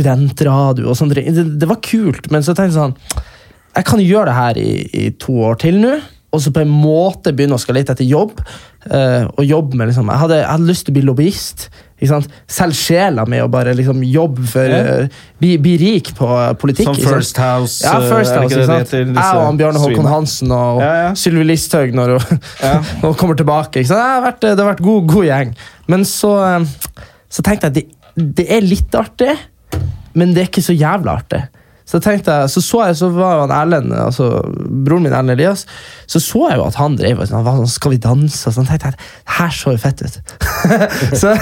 S3: studentradio. og sånn. dri- Det, det var kult, men så tenkte jeg sånn Jeg kan jo gjøre det her i, i to år til nå. Og så på en måte begynne å skal lete etter jobb. eh, og jobbe med liksom, Jeg hadde, jeg hadde lyst til å bli lobbyist. Ikke sant? Selv sjela mi å bare liksom jobbe for eh, bli, bli rik på politikk.
S1: Som
S3: ikke sant?
S1: First House,
S3: Ja,
S1: eh,
S3: First
S1: er det ikke det
S3: House, ikke
S1: det
S3: sant?
S1: heter,
S3: Jeg
S1: disse
S3: og han Bjørn Håkon
S1: svinene?
S3: Hansen og
S1: Ja, ja.
S3: Sylvi Listhaug når hun, når hun kommer tilbake. Ikke sant? Det, har vært, det har vært god, god gjeng. Men så, eh, så tenkte jeg at det, det er litt artig, men det er ikke så jævla artig. Så tenkte jeg, så så jeg, så var jo han Erlend, altså broren min Erlend Elias, så så jeg jo at han drev og sånn, han var sånn, skal vi danse? Og sånn, tenkte jeg, det her så jo fett ut. så,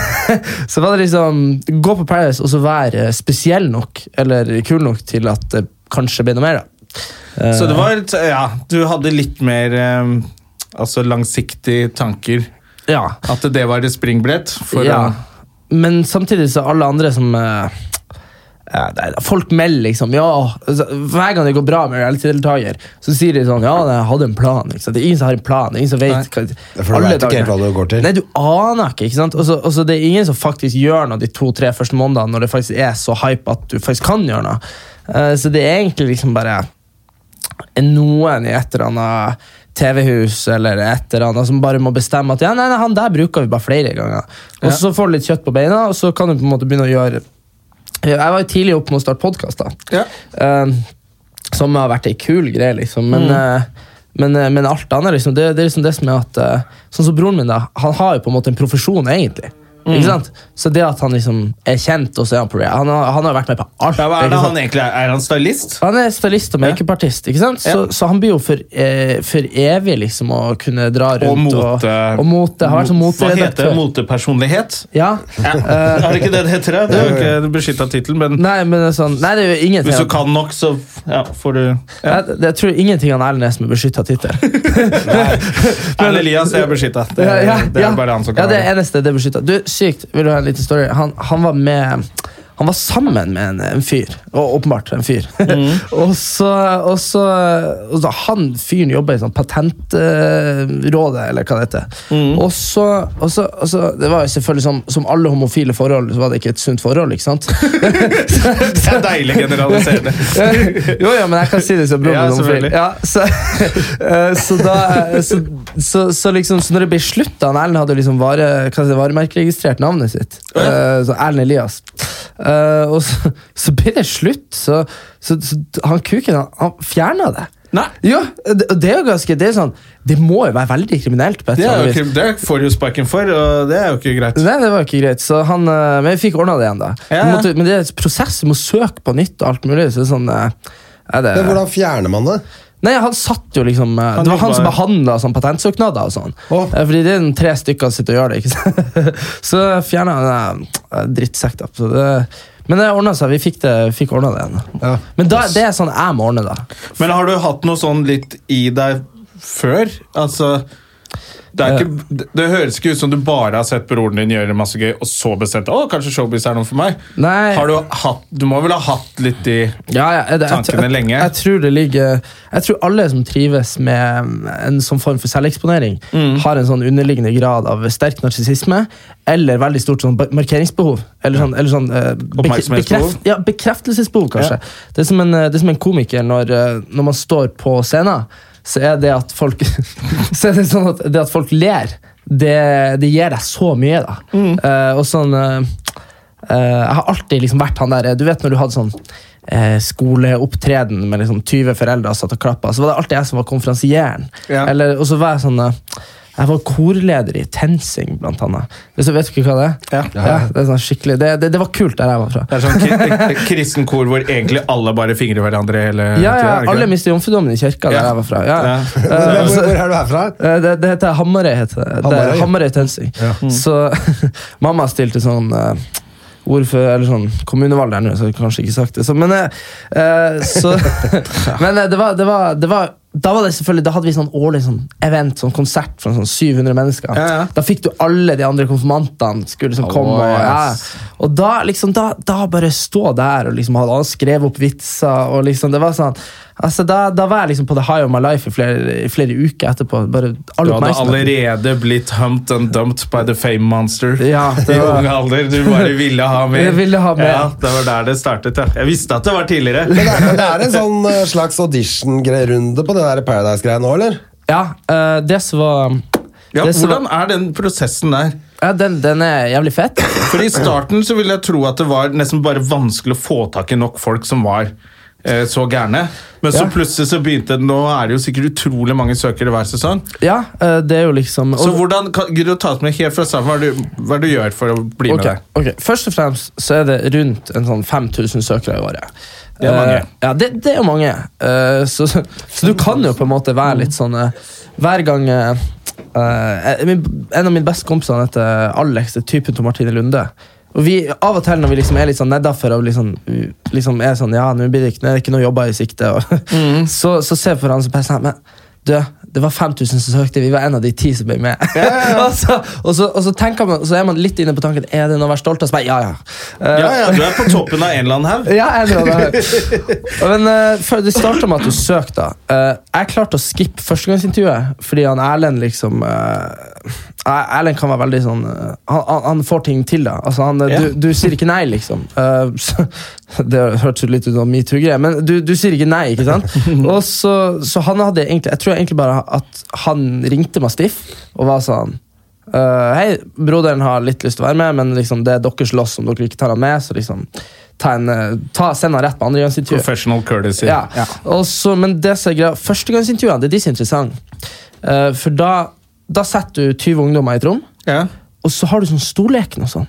S3: så var det liksom, gå på Paradise og så være spesiell nok, eller kul nok til at det kanskje blir noe mer da.
S1: Så det var et- Ja, du hadde litt mer eh, altså langsiktige tanker.
S3: Eh, Ja.
S1: At det var et springbrett for
S3: ja.
S2: eh,
S1: å
S3: Men samtidig så alle andre som eh, ja, det er- Folk melder liksom ja, altså, Hver gang det går bra med reality-deltaker, så sier de sånn Ja, nei, jeg hadde en plan. Ikke sant? Det er ingen som har en plan. det er Ingen som vet
S2: for
S3: hva,
S2: du
S3: alle
S2: vet ikke helt
S3: dager.
S2: hva det går til.
S3: Nei, du aner ikke. ikke sant? Og så- Og så det er ingen som faktisk gjør noe de to-tre første månedene når det faktisk er så hype at du faktisk kan gjøre noe. Eh, så det er egentlig liksom bare noen i et eller annet TV-hus eller et eller annet som bare må bestemme at ja, nei, nei, han der bruker vi bare flere ganger. Og så får du litt kjøtt på beina, og så kan du på en måte begynne å gjøre Jeg var jo tidlig oppe med å starte podkast, da. Eh, som har vært ei kul greie, liksom.
S1: Mm.
S3: Men, eh, men, eh, men alt annet, liksom, det, det er liksom det som er at eh, Sånn som broren min, da. Han har jo på en måte en profesjon, egentlig.
S1: Mm.
S3: Ikke sant? Så det at han liksom er kjent, og så er han på Rea- han, har- han har vært med på alt.
S1: ja, hva er,
S3: ikke
S1: det
S3: sant?
S1: han egentlig er? er han stylist?
S3: Han er stylist og makeupartist, ikke sant? Så, så han blir jo for, eh, for evig liksom å kunne dra rundt
S1: Og mote...
S3: og, og mote. Har vært som
S1: Hva heter det?
S3: moteredaktør.
S1: Motepersonlighet?
S3: Ja.
S1: Er det ikke det det heter? det? Det er jo ikke beskytta tittel, men
S3: Nei, men det er sånn, nei, det er jo ingenting.
S1: hvis du kan nok, så ja, får du
S3: jeg, jeg tror ingenting han Erlend er som er beskytta tittel.
S1: Erlend Elias er beskytta. Det,
S3: Ja, ja,
S1: det
S3: ja.
S1: er bare han som
S3: Ja,
S1: kan
S3: det
S1: være
S3: eneste det er beskyttet. Du, sykt, vil du ha en liten story? Han, han var med Han var sammen med en, en fyr. Og, åpenbart en fyr. og så, og så, og så Han fyren jobber i sånn Patentrådet, eller hva det heter. Og, så, og, så, og så Det var jo selvfølgelig som, som alle homofile forhold, så var det ikke et sunt forhold. ikke sant?
S1: Det er deilig generaliserende.
S3: jo, jo, men jeg kan si det som broren
S1: Ja,
S3: min homofil.
S1: selvfølgelig.
S3: Ja, så, eh, så da eh, så, så, så liksom, så når det ble slutt da, han Erlend hadde liksom vare, hva heter det, varemerkeregistrert navnet sitt, eh, så Erlend Elias, Eh, og så, så ble det slutt, så, så, så han kuken, han, han fjernet det.
S1: Nei.
S3: Ja, det, og det er jo ganske, det er sånn, det må jo være veldig kriminelt på et
S1: Det,
S3: eller
S1: er jo,
S3: annet vis.
S1: krim- det får du jo sparken for, og det er jo ikke greit.
S3: Nei, det var ikke greit, så han, eh, men vi fikk ordnet det igjen da.
S1: Ja.
S3: Vi Måtte, men det er et prosess, du må søke på nytt og alt mulig, så det er sånn... eh, er det,
S2: Men hvordan fjerner man det?
S3: Nei, han satt jo liksom eh, Det var han
S1: jobba-
S3: som behandla sånn patentsøknader og sånn.
S2: Å.
S3: Eh, Fordi det er den tre stykker som sitter og gjør det. ikke sant? Så fjerna han eh, drittsekk, da. Så det, men det ordna seg. Vi fikk, det, fikk ordna det igjen.
S2: Ja.
S3: Men da, det er sånn jeg må ordne, da.
S1: Men har du hatt noe sånn litt i deg før? Altså det, er
S3: Eh.
S1: ikke, det- det høres ikke ut som du bare har sett broren din gjøre masse gøy, og så bestemt Å, kanskje showbiz er noe for meg.
S3: Nei.
S1: Har du, hatt, du må vel ha hatt litt i
S3: Ja, ja, jeg, jeg,
S1: Tankene
S3: jeg,
S1: lenge.
S3: jeg, jeg tror det ligger Jeg tror alle som trives med mm, en sånn form for selveksponering, har en sånn underliggende grad av sterk narsissisme eller veldig stort sånn ba- markeringsbehov. Eller sånn, eller sånn eh, bek-
S1: Oppmerksomhetsbehov?
S3: bekreft- ja, Bekreftelsesbehov, kanskje. Det, er som en, eh, det er som en komiker når, eh, når man står på scenen, så er det at folk Så er det sånn at det at folk ler, det, det gir deg så mye, da.
S1: Mm.
S3: Eh, og sånn eh, Eh, jeg har alltid liksom vært han der eh, Du vet når du hadde sånn eh, skoleopptreden med liksom 20 foreldre og satt og klappa, så var det alltid jeg som var konferansieren.
S1: Ja.
S3: Eller- Og så var jeg sånn eh, Jeg var korleder i TenSing, blant annet. Hvis du vet ikke hva det er?
S1: Ja.
S3: det, er sånn skikkelig, det, det, det var kult der jeg var fra.
S1: Det er sånn kri- kristen kor hvor egentlig alle bare fingrer hverandre hele
S3: Ja, ja,
S1: tiden, Eh, er det ikke
S3: alle
S1: det?
S3: mister jomfrudommen i kirka der
S1: Ja.
S3: jeg var fra. Ja.
S1: Ja.
S2: Hvor,
S3: Eh,
S2: hvor,
S3: så-
S2: hvor er du herfra?
S3: Eh, Det, det heter Hamarøy. heter det. Det
S2: Hamarøy.
S3: er Hamarøy Tensing. Så mamma stilte sånn eh, ordfører, eller sånn kommunevalg der nå, så jeg har kanskje ikke sagt det. Så, men eh, eh, så, men eh, det, var, det, var, det var da var det selvfølgelig, da hadde vi sånn årlig sånn event, sånn konsert for sånn 700 mennesker.
S1: Ja, ja.
S3: Da fikk du alle de andre konfirmantene skulle liksom komme. Og,
S1: yes.
S3: ja. og da liksom, da, da bare stå der og liksom hadde skrevet opp vitser og liksom, det var sånn altså da, da var jeg liksom på the high of my life i flere, i flere uker etterpå. Bare all
S1: Du hadde
S3: oppmerksomhet.
S1: allerede blitt humped and dumped by the fame monster
S3: Ja, det
S1: i
S3: var-
S1: ung alder. Du bare ville ha mer.
S3: Jeg ville ha mer.
S1: Ja, det var der det startet. Ja. Jeg visste at det var tidligere.
S2: Men det, er, det er en sånn eh, slags audition-runde på det der Paradise-greia nå, eller?
S3: Ja, eh, det som var
S1: Ja,
S3: det som
S1: hvordan er den prosessen der?
S3: var- ja, den, den er jævlig fett.
S1: For I starten så ville jeg tro at det var nesten bare vanskelig å få tak i nok folk som var eh, så gærne. Men så
S3: Ja.
S1: plutselig så begynte det, nå er det jo sikkert utrolig mange søkere hver sesong.
S3: Ja, eh, det er jo liksom
S1: Så hvordan kan gidder du å ta oss med helt fra starten? Hva er det du, hva er det du gjør for å bli
S3: Ok,
S1: med der?
S3: ok. Først og fremst så er det rundt en sånn 5000 søkere i året.
S1: Det er mange.
S3: Eh, ja, det, det er jo mange. Eh, så, så, så du kan jo på en måte være litt sånn eh, Hver gang eh, eh, min, En av mine beste kompiser han heter Alex, det er typen til Martine Lunde. Og vi, Av og til når vi liksom er litt sånn nedafor og liksom, liksom er sånn Ja, nå blir det ikke, nå er det ikke noe jobber i sikte, og, så, så ser jeg på hverandre og peser jeg, men du, det var 5000 som søkte, vi var en av de ti som ble med. og, så, og, så, og så tenker man, så er man litt inne på tanken Er det noe å være stolt av. Så bare, ja, ja. Eh,
S1: Ja, ja, du er på toppen av en eller annen haug.
S3: ja, jeg drar det her. Men eh, før det starta med at du søkte. da. Eh, jeg klarte å skippe førstegangsintervjuet fordi han Erlend liksom eh, Er- Erlend kan være veldig sånn eh, han, han, han får ting til, da. Altså, han, eh,
S1: Ja.
S3: du, du sier ikke nei, liksom. Eh, så, det hørtes jo litt ut som metoo-greier, men du, du sier ikke nei, ikke sant? Og så, så han hadde egentlig Jeg tror egentlig bare at han ringte meg stiff og var sånn Eh, Hei, broderen har litt lyst til å være med, men liksom det er deres loss om dere ikke tar han med. Så liksom, ta en, eh, ta, send han rett på andregangsintervju.
S1: Professional courtesy.
S3: Ja. Og så- Men det som er greia, førstegangsintervjuene det er de som er interessante. Eh, for da, da setter du 20 ungdommer i et rom,
S1: Ja.
S3: og så har du sånn storleken og sånn.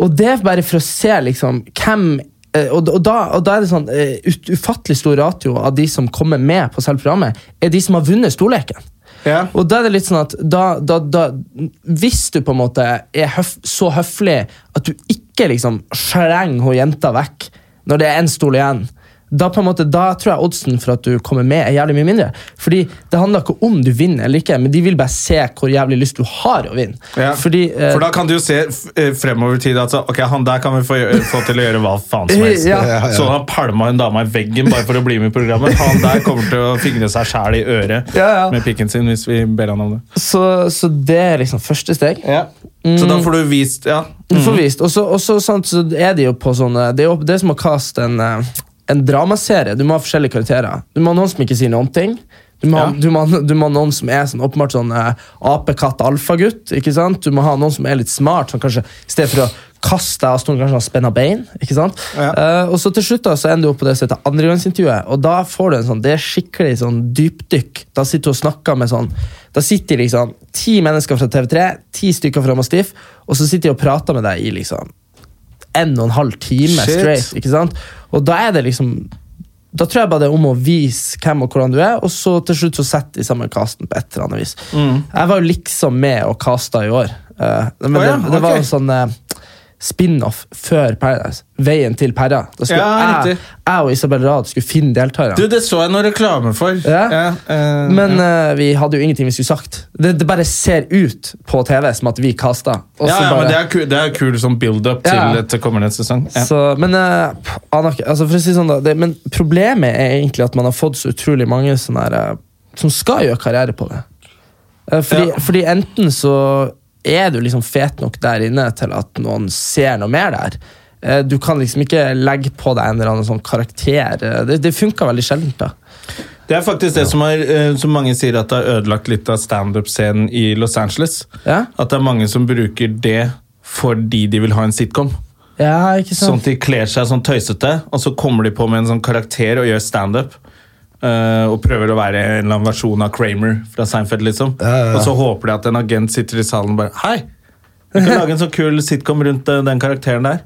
S3: Og det er bare for å se liksom hvem eh, og, og, da, og da er det sånn eh, ut, ufattelig stor ratio av de som kommer med på selve programmet, er de som har vunnet storleken.
S1: Ja.
S3: Og da er det litt sånn at da, da, da, Hvis du på en måte er høf, så høflig at du ikke liksom slenger hun jenta vekk når det er én stol igjen, da, på en måte, da tror jeg oddsen for at du kommer med, er jævlig mye mindre. Fordi det handler ikke om du vinner eller ikke, men de vil bare se hvor jævlig lyst du har å vinne.
S1: Ja.
S3: Fordi, eh,
S1: For da kan du jo se f- eh, fremover i tid at så, ok, han der kan vi få, gjø- få til å gjøre hva faen som helst.
S3: Ja.
S2: Ja, ja.
S1: Så han palma en dame i veggen bare for å bli med i programmet. Han der kommer til å fingre seg sjæl i øret
S3: Ja, ja.
S1: med pikken sin hvis vi ber han om det.
S3: så, så det er liksom første steg.
S1: Så
S3: Mm.
S1: da får du vist Ja.
S3: Du får vist. Og så- og så sant, så er de jo på sånne Det er jo det er som å kaste en, eh, en dramaserie. Du må ha forskjellige karakterer. Du må ha noen som ikke sier noen ting. Du må, ha,
S1: Ja.
S3: du, må, ha- du må ha noen som er sånn, åpenbart sånn eh, apekatt-alfagutt. ikke sant? Du må ha noen som er litt smart, som kanskje i stedet for å kaste deg av stolen, kanskje har spenna bein. ikke sant? Eh, og så til slutt da, så ender du opp på det som heter andregangsintervjuet, og da får du en sånn, det er skikkelig sånn dypdykk. Da sitter du og snakker med sånn Da sitter liksom ti mennesker fra TV3, ti stykker fra Mastiff, og så sitter de og prater med deg i liksom en og en halv time
S1: Shit.
S3: straight. ikke sant? Og da er det liksom da tror jeg bare det er om å vise hvem og hvordan du er, og så til slutt så setter de sammen casten på et eller annet vis.
S1: Mm.
S3: Jeg var jo liksom med og casta i år. eh, men
S1: Å ja,
S3: det, det var
S1: ok.
S3: en sånn eh, spin-off før Paradise. Veien til Perra. Da skulle
S1: Ja,
S3: jeg,
S1: riktig.
S3: jeg og Isabel Rad skulle finne deltakere.
S1: Du, det så jeg noe reklame for.
S3: Ja.
S1: eh,
S3: Men eh, vi hadde jo ingenting vi skulle sagt. Det, det bare ser ut på TV som at vi kasta. og
S1: ja,
S3: så
S1: ja, men
S3: bare-
S1: det er kul, det er kul som build-up til,
S3: Ja.
S1: til kommende sesong. Ja.
S3: Så, men, eh, pff, aner ikke. altså for å si sånn da, det, men problemet er egentlig at man har fått så utrolig mange sånne her, eh, som skal gjøre karriere på det. Eh, Fordi,
S1: Ja.
S3: fordi enten så er du liksom fet nok der inne til at noen ser noe mer der. Eh, Du kan liksom ikke legge på deg en eller annen sånn karakter. Eh, Det, det funka veldig sjeldent. da.
S1: Det er faktisk det som, er, eh, som mange sier at det har ødelagt litt av standup-scenen i Los Angeles.
S3: Ja.
S1: At det er mange som bruker det fordi de vil ha en sitcom.
S3: Ja, ikke
S1: Sånn at
S3: sant?
S1: de kler seg sånn tøysete, og så kommer de på med en sånn karakter og gjør standup. eh, og prøver å være en eller annen versjon av Kramer fra Seinfeld. liksom. Og så håper de at en agent sitter i salen og bare Hei! Vi kan lage en sånn kul sitcom rundt eh, den karakteren der.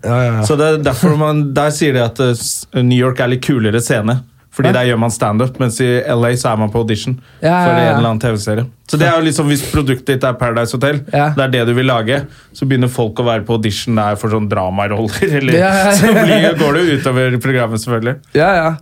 S1: Så det er derfor man, Der sier de at eh, s- New York er litt kulere scene. Fordi der gjør man standup, mens i LA så er man på audition.
S3: Ja,
S1: for
S3: ja, ja.
S1: en eller annen TV-serie. Så det er jo liksom, Hvis produktet ditt er Paradise Hotel,
S3: Ja.
S1: det er det du vil lage, så begynner folk å være på audition der for sånn dramaroller. eller
S3: Ja, ja.
S1: Så blir, går det jo utover programmet, selvfølgelig.
S3: Ja, ja.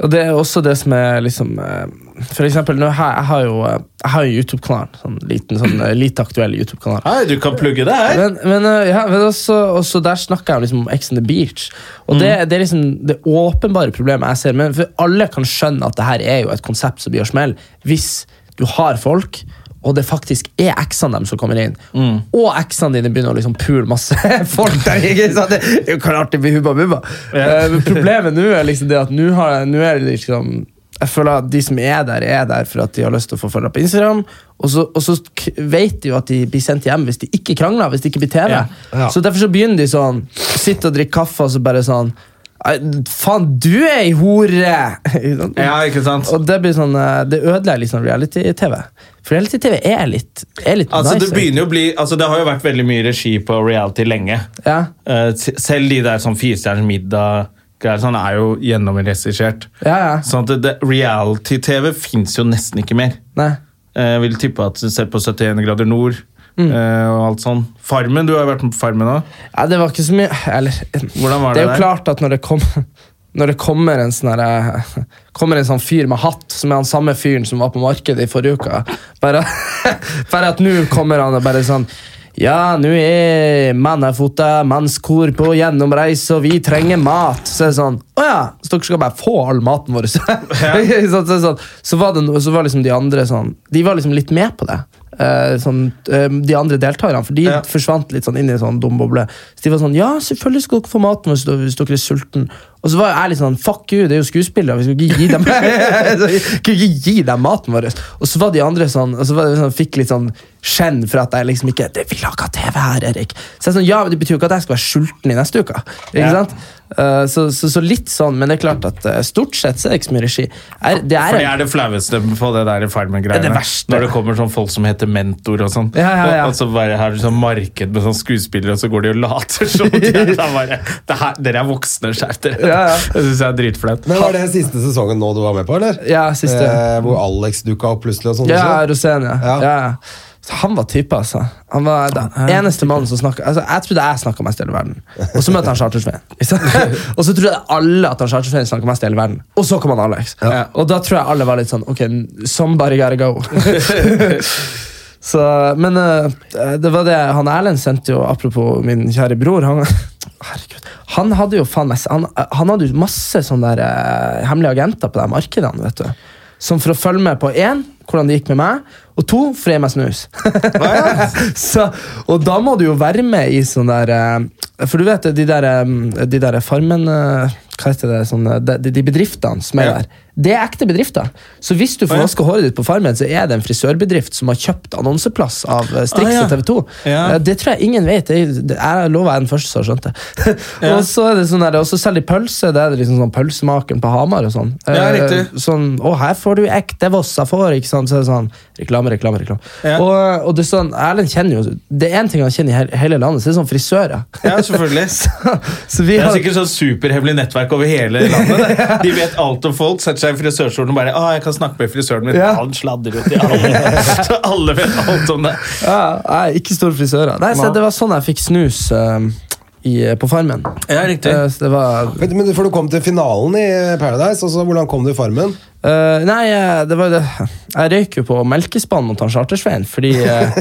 S3: Og det er også det som er liksom eh, For eksempel, nå har, jeg har jo, eh, jeg har jo YouTube-kanal. Sånn liten, sånn eh, lite aktuell YouTube-kanal.
S1: Hei, du kan plugge det her!
S3: Men, men, uh, ja, men også, også der snakker jeg liksom om Ex on the Beach. Og det, det er liksom det åpenbare problemet jeg ser. Men for Alle kan skjønne at det her er jo et konsept som blir å smell hvis du har folk, og det faktisk er eksene dem som kommer inn. Og eksene dine begynner å liksom pule masse folk der. ikke sant? Det er jo klart det blir hubba bubba. Eh, men problemet nå er liksom det at nå har- nå er det liksom jeg føler at De som er der, er der for at de har lyst til å få følgere på Instagram. Og så, og så k- vet de jo at de blir sendt hjem hvis de ikke krangler. hvis de ikke blir TV.
S1: Ja.
S2: Ja.
S3: Så Derfor så begynner de sånn. Sitter og drikker kaffe og så bare sånn «Ei, Faen, du er ei hore! Ikke sant?
S1: Ja, ikke sant?
S3: Og det blir sånn, eh, det ødelegger liksom reality-TV. For reality-TV er litt, er litt
S1: Altså,
S3: nice.
S1: det begynner jo å bli, altså, det har jo vært veldig mye regi på reality lenge.
S3: Ja.
S1: Eh, s- selv de der sånn Firestjerners middag greier sånn, er jo gjennomregissert.
S3: Ja, ja.
S1: Sånn at det- det- reality-TV fins jo nesten ikke mer.
S3: Nei.
S1: Eh, Jeg vil tippe at selv på 71 grader nord
S3: Mm.
S1: eh, og alt sånn. Farmen, du har jo vært med på Farmen nå.
S3: Ja, det var ikke så mye Eller
S1: Hvordan var
S3: Det
S1: det,
S3: er jo
S1: der?
S3: klart at når det, kom, når det kommer, en sånn herre- kommer en sånn fyr med hatt, som er han samme fyren som var på markedet i forrige uke Bare, bare at nå kommer han og bare sånn ja, nå er mannafota, mannskor på gjennomreise, og vi trenger mat. Så er det sånn Å ja, så dere skal bare få all maten vår? Så, så, så, så, så var det no- så var liksom de andre sånn De var liksom litt med på det. eh, sånn, eh, de andre deltakerne, for de
S1: Ja.
S3: forsvant litt sånn inn i en sånn dum boble. Så de var sånn Ja, selvfølgelig skal dere få maten hvis dere, hvis dere er sulten Og så var jeg litt sånn Fuck you, det er jo skuespillere. Vi skal ikke gi dem Så vi kan ikke gi dem maten vår. Og så var de andre sånn Og så var det sånn, fikk litt sånn skjenn for at jeg liksom ikke Det vil ikke ha TV her, Erik. Så jeg er sånn, ja, men det betyr jo ikke at jeg skal være sulten i neste uke. Ikke
S1: Ja.
S3: sant? Eh, så, så, så litt sånn, men det er klart at eh, stort sett så er det ikke så mye regi. Er, det er
S1: For det er det flaueste på det der i Farmen-greiene.
S3: Det er det verste.
S1: Når det kommer sånn folk som heter mentor og sånn.
S3: Ja, ja, ja.
S1: Og, og så bare har du sånn marked med sånn skuespillere, og så går de og later som. de er da bare, det her, dere er voksne, skjerp dere.
S3: Ja, ja.
S1: Det syns jeg er dritflaut.
S2: Men Var det siste sesongen nå du var med på? eller?
S3: Ja, siste.
S2: Eh, hvor Alex dukka opp plutselig? og sånn
S3: Ja,
S2: også?
S3: Rosén, ja.
S2: Ja.
S3: ja. Så han var type, altså. Han var den eneste mannen som snakket altså, Jeg trodde jeg snakka mest i hele verden. Og så møtte han Chartersveien. ikke sant? og så trodde alle at han Chartersveien snakka mest i hele verden. Og så kom han Alex. Ja, Og da tror jeg alle var litt sånn Ok, somebody gotta go. så, men eh, det var det Han Erlend sendte jo, apropos min kjære bror Han, herregud, han hadde jo faen meg han, han hadde jo masse sånne der, eh, hemmelige agenter på de markedene, vet du. Som for å følge med på én, hvordan det gikk med meg, og to, for å gi meg snus. så, og da må du jo være med i sånn der eh, For du vet de der, eh, de der farmen eh, Hva heter det? Sånn, eh, de, de bedriftene som er
S1: Ja.
S3: der. Det er ekte bedrifter. Så hvis du får vaska håret ditt på Farmen, så er det en frisørbedrift som har kjøpt annonseplass av eh, Strix
S1: Ah, ja.
S3: og TV 2.
S1: Ja.
S3: Det tror jeg ingen vet. Jeg, det- jeg lover jeg er den første som har skjønt det. og så er det sånn der, og så selger de pølse. Det er det liksom sånn pølsemakeren på Hamar og sånn.
S1: Ja,
S3: Eh,
S1: riktig.
S3: sånn, Å, her får du ekte Vossa får, ikke sant? Så er det sånn, reklame, reklame, reklame.
S1: Ja.
S3: Og, og det er sånn, Erlend kjenner jo, det er en ting han kjenner i he- hele landet, så det er sånn frisører.
S1: Ja, selvfølgelig.
S3: så vi
S1: Det er
S3: har,
S1: sikkert sånn superhemmelig nettverk over hele landet. det. De vet alt om folk, setter seg i frisørstolen og bare «Ah, jeg kan snakke med frisøren min.
S3: Ja.
S1: Han sladrer jo til alle. Så alle vet alt om det.
S3: ja, jeg er ikke store frisører. Nei, så
S1: Nei.
S3: det var sånn jeg fikk snus eh, i, på farmen.
S1: Ja, riktig.
S3: Eh, så det var...
S2: Men, men for du kom til finalen i Paradise, altså hvordan kom du i Farmen?
S3: Eh, nei, eh, det var jo det. Jeg røyk jo på melkespann mot han Chartersveien, fordi eh,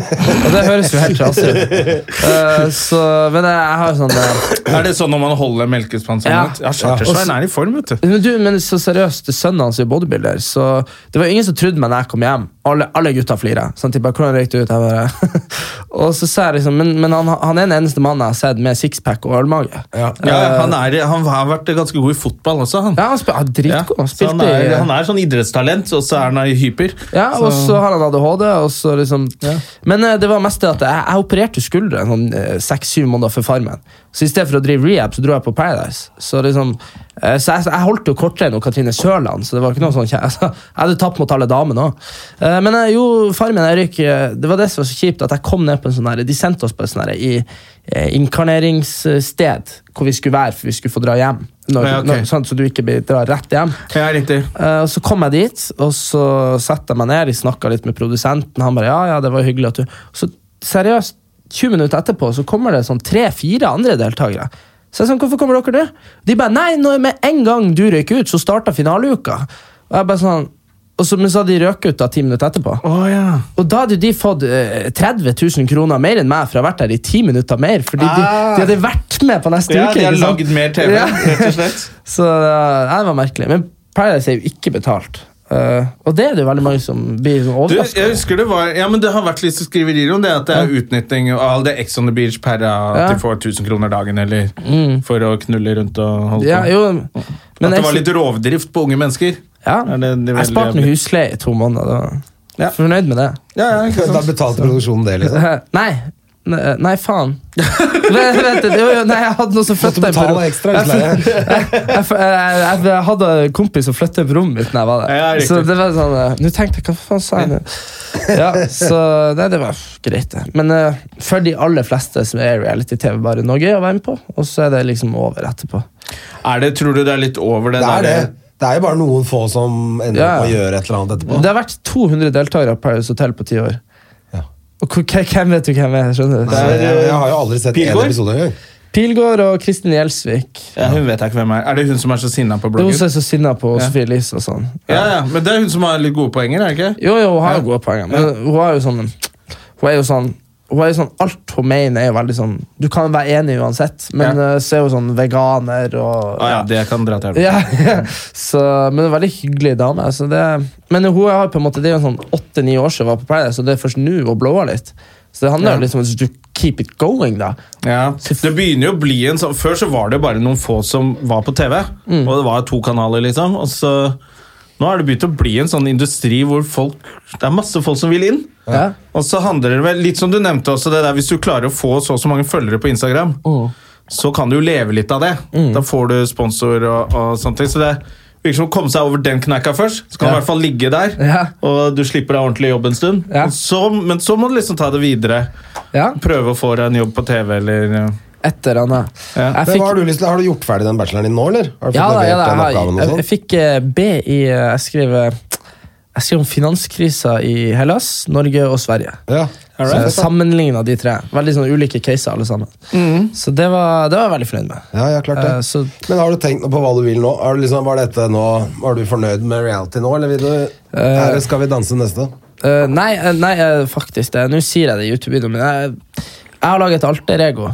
S3: Og det høres jo helt trasig ut. Eh, så, men jeg, jeg har jo sånn eh,
S1: Er det sånn når man holder melkespann sånn
S3: Ja.
S1: ut? Ja, Chartersveien er i form, vet du.
S3: men, du, men så seriøst, det er sønnen hans er jo bodybuilder, så det var ingen som trodde meg når jeg kom hjem. Alle, alle gutta flira. Sånn, de bare, hvordan røyk du ut? Jeg bare, og så sa jeg liksom, Men, men han, han er den eneste mannen jeg har sett med sixpack og ølmage.
S2: Ja.
S1: Ja, han, er, han har vært ganske god i fotball også, han.
S3: Ja, han spil, han er
S1: Ja,
S3: dritgod. Han
S1: så han,
S3: spilte i-
S1: er, han er sånn idrettstalent, og så er han hyper.
S3: Ja, og
S1: Så-
S3: så har han ADHD. Og så liksom. Men eh, det var mest det at jeg, jeg opererte skulderen sånn seks-syv måneder før Farmen. Så i stedet for å drive rehab, så dro jeg på Paradise. Så liksom eh, så jeg, jeg holdt jo kortrein og Katrine Sørland, så det var ikke noe sånn kje- altså, Jeg hadde tapt mot alle damene òg. Men eh, jo, Farmen jeg røyk eh, Det var det som var så kjipt, at jeg kom ned på en sånn her De sendte oss på en sånn her i eh, inkarneringssted hvor vi skulle være, for vi skulle få dra hjem. Når,
S1: Ja, ok.
S3: når, sånn, så du ikke blir- drar rett hjem.
S1: Ja, riktig.
S3: Eh, og Så kom jeg dit, og så satte jeg meg ned. Jeg snakka litt med produsenten. Han bare ja, ja, det var hyggelig at du Så seriøst, 20 minutter etterpå så kommer det sånn tre-fire andre deltakere. Så jeg sånn, hvorfor kommer dere nå? De bare nei, når med en gang du røyk ut, så starta finaleuka. Og jeg bare sånn og så, Men så hadde de røket ut da ti minutter etterpå.
S1: Å, ja.
S3: Og da hadde jo de fått eh, 30 000 kroner mer enn meg for å ha vært der i ti minutter mer. Fordi de,
S1: Ah.
S3: de hadde vært med på neste
S1: Ja,
S3: uke.
S1: de har
S3: ikke sant?
S1: lagd mer TV,
S3: Ja.
S1: rett og slett.
S3: Så eh, nei, det var merkelig. Men Paradise er jo ikke betalt. Eh, og det er det jo veldig mange som blir sånn
S1: Du,
S3: overraska.
S1: jeg husker Det var, ja, men det har vært litt skriverier om det, at det er utnytting av det Ex on the beach per at
S3: Ja.
S1: de får 1000 kroner dagen eller for å knulle rundt og holde
S3: Ja,
S1: på.
S3: jo,
S1: at
S3: men
S1: det var
S3: jeg,
S1: litt rovdrift på unge mennesker.
S3: ja,
S1: Er det- det er
S3: jeg
S1: veldig
S3: sparte med
S1: jævlig.
S3: husleie i to måneder. Da. var
S1: Ja.
S3: jeg Fornøyd med det.
S1: Ja, ja, ikke
S2: Da
S1: sant?
S2: betalte produksjonen det, liksom.
S3: Eh, Nei. Nei, nei, faen. Vent, vent, jo, jo, nei, jeg hadde noe som
S2: Måtte
S3: flytta inn på
S2: betale
S3: rom-
S2: ekstra liksom. husleie.
S3: jeg, f- jeg, jeg, jeg hadde en kompis som flyttet inn på rommet mitt da jeg var der.
S1: Ja, riktig.
S3: så det var sånn eh, Nå tenkte jeg, hva faen sa jeg nå? Ja, så nei, det var greit, det. Men eh, for de aller fleste som er i reality-TV, bare noe gøy å være med på, og så er det liksom over etterpå.
S1: Er det, tror du det er litt over det,
S2: Det er det.
S1: der?
S2: Det er jo bare noen få som ender
S3: Ja.
S2: opp med å gjøre et eller annet etterpå.
S3: Det har vært 200 deltakere på Paradise Hotel på ti år.
S2: Ja.
S3: Og hvor- hvem vet du hvem er? skjønner du?
S2: Så jeg, jeg har jo aldri sett én
S1: Pilgaard?
S2: episode engang.
S3: Pilgaard og Kristin Gjelsvik.
S1: Ja, hun vet jeg ikke hvem er. Er det hun som er så sinna på
S3: Det er hun som
S1: bloggen?
S3: er så sinna på Sofie Elise og sånn.
S1: Ja, ja, Men det er hun som har litt gode poenger, er det ikke?
S3: Jo, jo, hun har jo gode poenger, men hun er jo sånn Hun er jo sånn hun er jo sånn, Alt hun mener, er jo veldig sånn Du kan være enig uansett, men
S1: Ja.
S3: eh, så er hun sånn veganer og
S1: Ah, ja, det kan dra til helvete.
S3: ja, så, men hun er en veldig hyggelig dame. Så det, men hun har på en måte, det er jo sånn åtte-ni år siden hun var på Paradise, og det er først nå hun blåer litt. Så det handler jo liksom om at du keep it going, da.
S1: Ja, det begynner jo å bli en sånn Før så var det bare noen få som var på TV,
S3: Mm.
S1: og det var to kanaler, liksom. Og så Nå har det begynt å bli en sånn industri hvor folk Det er masse folk som vil inn.
S3: Ja.
S1: Og så handler det vel, litt som du nevnte også, det der hvis du klarer å få så og så mange følgere på Instagram,
S3: Mm.
S1: så kan du jo leve litt av det. Da får du sponsor og, og sånne ting. Så det virker som å komme seg over den kneika først. Så kan du i hvert fall ligge der,
S3: Ja.
S1: og du slipper deg ordentlig jobb en stund.
S3: Ja.
S1: Og Så, men så må du liksom ta det videre.
S3: Ja,
S1: Prøve å få deg en jobb på TV eller ja.
S3: Et eller annet.
S1: Ja.
S3: Jeg
S2: Men
S3: fikk-
S2: hva har, du lyst til? har du gjort ferdig den bacheloren din nå, eller? Har du fått
S3: Ja, da, ja,
S2: levert den
S3: da, jeg, har-
S2: oppgaven og
S3: jeg, jeg
S2: sånn?
S3: fikk eh, B i eh, Jeg skrev, eh, jeg skrev om finanskrisa i Hellas, Norge og Sverige.
S2: Ja.
S3: Right. Sammenligna de tre. Veldig sånn ulike caser, alle sammen.
S1: Mm.
S3: Så det var, det var jeg veldig fornøyd med.
S2: Ja, ja, klart det.
S3: Eh, så-
S2: Men har du tenkt noe på hva du vil nå? Er, du liksom, var, dette nå? er du fornøyd med reality nå, eller vil du, er det Skal vi danse neste?
S3: Eh, nei, eh, nei eh, faktisk det. Nå sier jeg det i YouTube-videoen min. Jeg, jeg har laget et alter ego.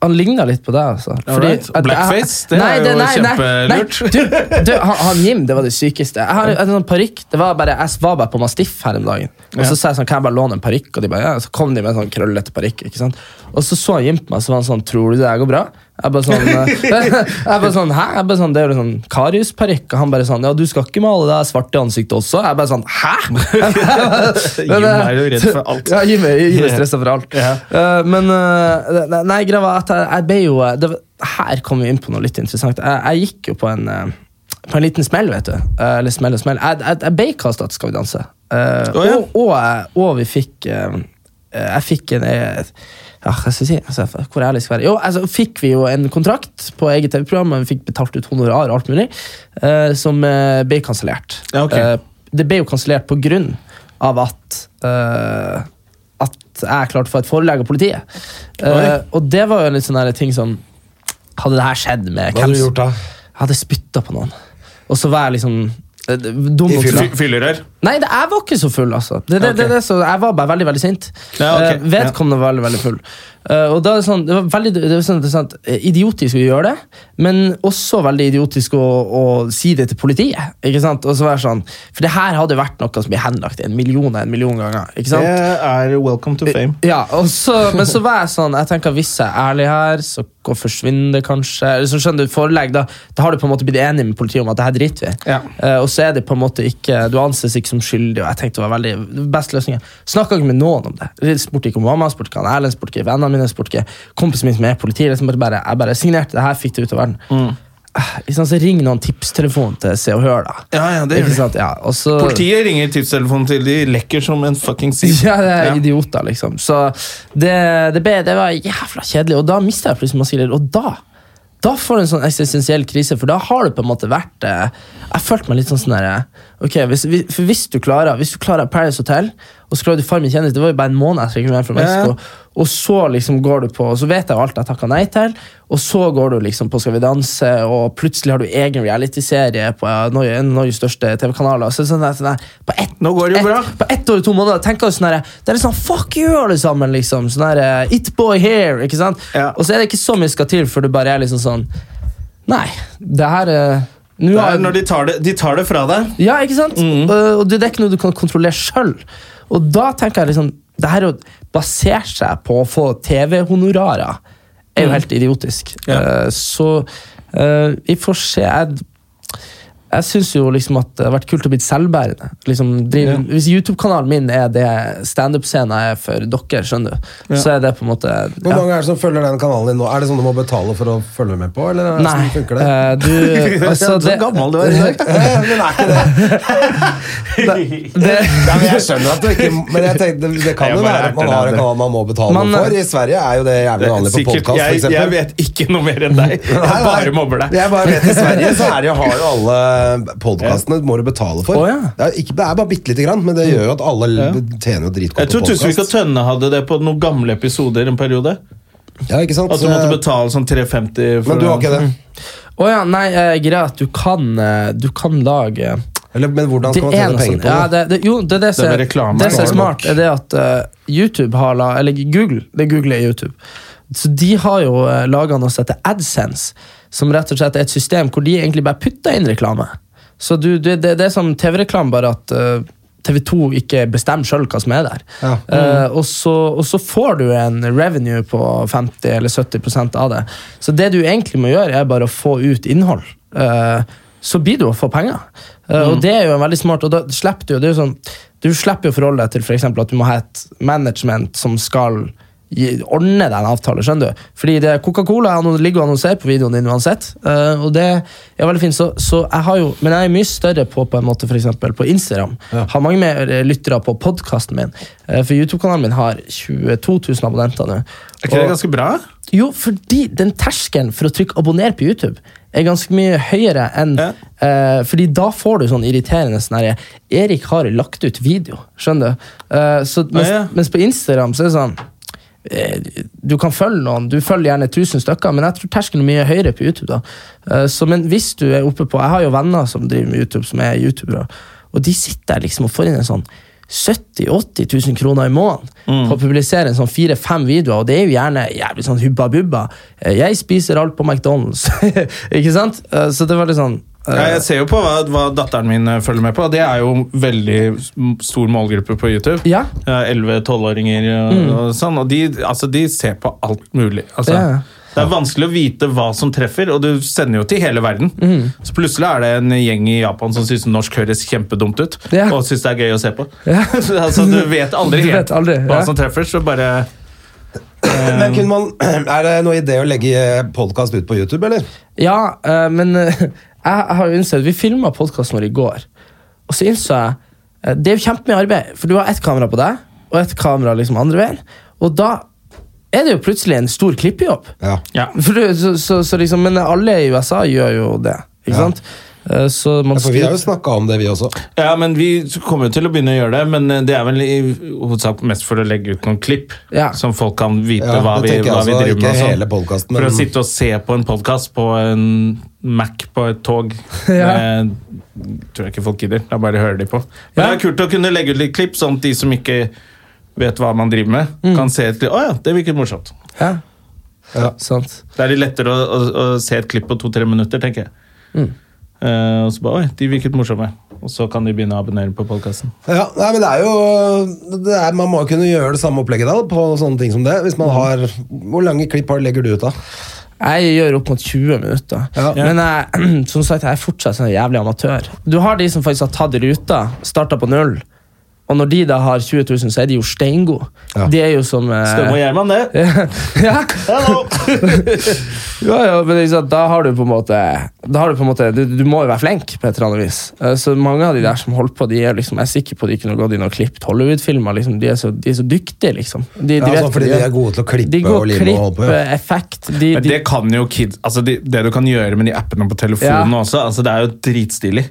S3: Han ligner litt på deg, altså.
S1: Alright. Blackface, det er jo
S3: kjempelurt. Du, du, han, han Jim, det var det sykeste. Jeg har en sånn parykk. Det var bare, jeg var bare på Mastiff her om dagen. Og så sa jeg sånn, kan jeg bare låne en parykk? Og de bare, ja. Så kom de med en sånn krøllete parykk. ikke sant? Og så så han Jim på meg, så var han sånn, tror du det her går bra? Jeg bare sånn, eh, jeg bare sånn, hæ? Jeg bare sånn, det er jo sånn kariusparykk. Og han bare sånn, ja, du skal ikke male deg svart i ansiktet også? Jeg bare sånn, hæ?
S1: Jim er jo redd for alt.
S3: Ja, Jim er, Jim er stressa for alt. Eh, men eh, ne- Nei, greia var at jeg, jeg ble jo eh, det, var- Her kom vi inn på noe litt interessant. Jeg, jeg gikk jo på en eh, på en liten smell, vet du. Eh, Eller smell og smell. Jeg, jeg, jeg ble kasta til Skal vi danse. Eh,
S1: Å, ja.
S3: og, og, jeg- og vi fikk eh, eh, Jeg fikk en eh, ja, hva skal jeg si? Altså, hvor ærlig skal jeg være? Jo, altså, fikk vi jo en kontrakt på eget TV-program, og vi fikk betalt ut honorar og alt mulig, eh, som eh, ble kansellert.
S1: Ja, ok.
S3: Eh, det ble jo kansellert på grunn av at eh, at jeg klarte å få et forelegg av politiet. Eh, og det var jo en litt sånn der ting som Hadde det her skjedd med
S2: Hva hadde du
S3: som-
S2: gjort da?
S3: Jeg hadde spytta på noen. Og så var jeg liksom eh, dum og
S1: Fy- Fyllerør.
S3: Nei, det, jeg var ikke så full, altså. Det, det, det, det, så jeg var bare veldig veldig sint.
S1: Ja, ok.
S3: Eh, vedkommende var veldig veldig full. Eh, og da er det, sånn, det var veldig det var sånn, interessant, eh, idiotisk å gjøre det, men også veldig idiotisk å, å si det til politiet. ikke sant? Og så være sånn, For det her hadde vært noe som ble henlagt en million og en million ganger. ikke sant?
S1: er welcome to fame.
S3: Ja, og så, men så var jeg sånn Jeg tenker hvis jeg er ærlig her, så går- forsvinner det kanskje. Eller så skjønner du forelegg Da Da har du på en måte blitt enig med politiet om at det her driter vi i.
S1: Ja.
S3: Eh, og så er det på en måte ikke Du anses ikke som skyldig. Og jeg tenkte det var veldig best løsningen Snakka ikke med noen om det. Jeg Spurte ikke om mamma, spurte ikke han Erlend, spurte ikke vennene mine, spurte ikke kompisen min som er politi. Liksom bare, bare, jeg bare signerte det her, fikk det ut av verden.
S1: Mm.
S3: Eh, Ikke sant, så Ring noen tipstelefon til Se og Hør, da.
S1: Ja, ja, det gjør
S3: Ikke
S1: de.
S3: sant? Ja, og så,
S1: Politiet ringer tipstelefonen til de lekker som en fucking siv.
S3: Ja, det er
S1: Ja.
S3: idioter, liksom. Så det, det, ble, det var jævla kjedelig, og da mista jeg plutselig masse greier. Og da da får du en sånn eksistensiell krise, for da har det på en måte vært eh, Jeg følte meg litt sånn sånn derre Ok, hvis, vi- for hvis du klarer Hvis du klarer Paris Hotel, og så klarer du Farmen kjendis Det var jo bare en måned etter jeg kom hjem fra Mexico. Og så liksom går du på Så vet jeg jo alt jeg takka nei til, og så går du liksom på Skal vi danse, og plutselig har du egen reality-serie på eh, Norge- en av Norges største TV-kanaler. Så det er sånn der, sånn der, på ett
S1: Nå går det jo
S3: ett-
S1: bra.
S3: på ett år og to måneder tenker jeg sånn her, Det er litt sånn fuck you, alle sammen. liksom Sånn her, eh, It boy here. ikke sant?
S1: Ja.
S3: Og så er det ikke så mye skal til før du bare er liksom sånn Nei, det her eh, nå
S1: Det
S3: har-
S1: er når de tar det, de tar det fra deg.
S3: Ja, ikke sant?
S2: Mm.
S3: Eh, og det er ikke noe du kan kontrollere sjøl. Og da tenker jeg liksom Det her å basere seg på å få TV-honorarer er jo
S2: Mm.
S3: helt idiotisk.
S1: Ja.
S3: Eh, så eh, vi får se. Jeg jeg syns jo liksom at det har vært kult å bli selvbærende. Liksom drive, Hvis YouTube-kanalen min er det standup-scenen er for dere, skjønner du, så er det på en måte
S2: Hvor
S3: ja.
S2: mange er det som følger den kanalen din nå? Er det sånn du må betale for å følge med på? Eller er det
S3: Nei,
S2: sånn funker det?
S3: eh, du altså, det,
S1: gammel du er i dag.
S2: Men er ikke det.
S3: det,
S2: Ja, men jeg skjønner at du ikke Men jeg tenkte, det kan
S1: Jeg
S2: jo
S1: bare
S2: være at man
S1: erter
S2: har en
S1: deg, det.
S2: kanal man må betale
S3: Man, eh,
S2: noe for. I Sverige er jo det jævlig vanlig på
S1: Sikkert,
S2: podkast,
S1: jeg, jeg
S2: f.eks.
S1: vet ikke noe mer enn deg. Jeg bare mobber deg.
S2: Jeg bare vet I Sverige så er det jo, har jo alle podkastene må du betale for.
S3: Å, ja.
S2: det, er ikke, det er bare bitte lite grann, men det gjør jo at alle tjener jo dritgodt
S1: Jeg
S2: på
S1: tror Tusvik og
S2: podkast.
S1: Tønne hadde det på noen gamle episoder en periode.
S2: Ja, ikke sant?
S1: At du måtte betale sånn 3,50 for
S2: Eh, Men du har ikke det?
S3: Å ja, nei, eh, greia er at du kan, eh, du kan lage
S2: Eller, men hvordan
S3: Det
S2: skal man
S3: er
S2: tjene
S3: noe
S2: penger på
S3: sånt.
S2: det?
S3: Ja, det, det, jo, det er det som
S1: Det er
S3: er,
S1: med reklame,
S3: det som er
S1: klart
S3: smart,
S1: nok.
S3: er det at eh, YouTube har la, Eller Google, det Google er YouTube. Så de har jo uh, laga noe som heter AdSense, som rett og slett er et system hvor de egentlig bare putter inn reklame. Så du, du, det, det er som TV-reklame, bare at eh, TV2 ikke bestemmer sjøl hva som er der.
S2: Ja.
S3: Eh, og, så, og så får du en revenue på 50 eller 70 av det. Så det du egentlig må gjøre, er bare å få ut innhold. Eh, så blir du å få penger. Eh, Og det er jo en veldig smart Og da slipper du jo det er jo sånn, Du slipper jo forholdet til for eksempel at du må ha et management som skal gi, ordne deg en avtale, skjønner du. Fordi det er Coca-Cola han ligger og annonserer på videoen din uansett. eh, og det er veldig fint, så, så jeg har jo Men jeg er mye større på på en måte for eksempel på Instagram. Har mange mer eh, lyttere på podkasten min. Eh, for YouTube-kanalen min har 22 000 abonnenter nå.
S1: Er ikke det
S3: Og-
S1: ganske bra?
S3: jo, fordi den terskelen for å trykke abonner på YouTube er ganske mye høyere enn
S1: Ja.
S3: Eh, fordi da får du sånn irriterende sånn herre Erik har lagt ut video, skjønner du? Eh, så, mens,
S1: ja.
S3: mens på Instagram så er det sånn eh, du kan følge noen, du følger gjerne 1000 stykker, men jeg tror terskelen er mye høyere på YouTube. da. Eh, Så, men hvis du er oppe på Jeg har jo venner som driver med YouTube, som er youtubere, og de sitter der liksom og får inn en sånn 70 000-80 000 kroner i måneden på å publisere en sånn fire-fem videoer, og det er jo gjerne jævlig sånn hubba-bubba. Eh, Jeg spiser alt på McDonald's, ikke sant? Eh, Så det var litt sånn eh,
S1: Ja, jeg ser jo på hva, hva datteren min eh, følger med på. og Det er jo veldig s- stor målgruppe på YouTube.
S3: Ja. Mm.
S1: Elleve-tolvåringer og, og sånn. Og de, altså, de ser på alt mulig. Altså,
S3: Ja.
S1: Det er vanskelig å vite hva som treffer, og du sender jo til hele verden.
S3: Mm.
S1: Så plutselig er det en gjeng i Japan som syns norsk høres kjempedumt ut.
S3: Ja.
S1: Og syns det er gøy å se på.
S3: Ja.
S1: Så, altså, du vet aldri
S3: Du vet
S1: helt
S3: aldri,
S1: hva
S3: ja.
S1: som treffer, så bare
S2: Men kunne man, Er det noe idé å legge podkast ut på YouTube, eller?
S3: Ja, eh, men eh, jeg, jeg har jo innsett Vi filma podkasten vår i går, og så innså jeg eh, Det er jo kjempemye arbeid, for du har ett kamera på deg, og ett kamera liksom andre veien, og da er det jo plutselig en stor klippejobb.
S2: Ja.
S1: Ja.
S3: For du, så, så, så liksom, men alle i USA gjør jo det, ikke sant? Eh, Så man
S2: For vi har jo
S3: skriver
S2: snakka om det, vi også.
S1: Ja, men Vi kommer jo til å begynne å gjøre det, men eh, det er vel i hovedsak mest for å legge ut noen klipp.
S3: Ja.
S1: Som folk kan vite
S2: Ja,
S1: hva,
S2: det
S1: vi,
S2: tenker jeg
S1: hva vi
S2: også,
S1: driver med.
S2: ikke
S1: og sånn.
S2: hele podcasten,
S1: For
S2: men-
S1: å sitte og se på en podkast på en Mac på et tog
S3: Ja.
S1: det tror jeg ikke folk gidder. Da bare hører de på. Men
S3: Ja.
S1: det er kult å kunne legge ut litt klipp, sånn at de som ikke vet hva man driver med,
S3: Mm.
S1: kan se et klipp. Å ja, det virket morsomt.
S3: ja.
S2: Ja.
S3: Sant.
S1: Da er det lettere å, å, å se et klipp på to-tre minutter, tenker jeg.
S3: Mm.
S1: Eh, og så bare, Oi, de virket morsomme. Og så kan de begynne å abonnere på podkasten.
S2: Ja, nei, men det er jo det er, Man må jo kunne gjøre det samme opplegget da på sånne ting som det. Hvis man har, Hvor lange klipp har, legger du ut, da?
S3: Jeg gjør opp mot 20 minutter.
S2: Ja.
S3: Men jeg, som sagt, jeg er fortsatt sånn jævlig amatør. Du har de som faktisk har tatt ruta, starta på null. Og når de da har 20 000, så er de jo steingode.
S2: Ja.
S3: De er jo som eh,
S1: Stømme og Gjerman, det.
S3: ja.
S1: Hallo!
S3: ja, ja, men ikke sant, da har du på en måte, da har du, på en måte du, du må jo være flink på et eller annet vis. Eh, Så mange av de der som holdt på, de er liksom, jeg er sikker på de kunne gått inn og klippet Hollywood-filmer. Liksom. De, er så- de er så dyktige, liksom.
S2: Ja,
S3: De, de vet
S2: altså,
S3: hva
S2: fordi de
S3: gjør.
S2: er gode til å klippe
S3: De går
S2: og lime og holde på,
S3: klipp,
S2: ja.
S3: effekt de,
S1: Men
S3: de,
S1: det kan jo kids altså det, det du kan gjøre med de appene på telefonen
S3: Ja. Mm.
S1: også, altså det er jo dritstilig.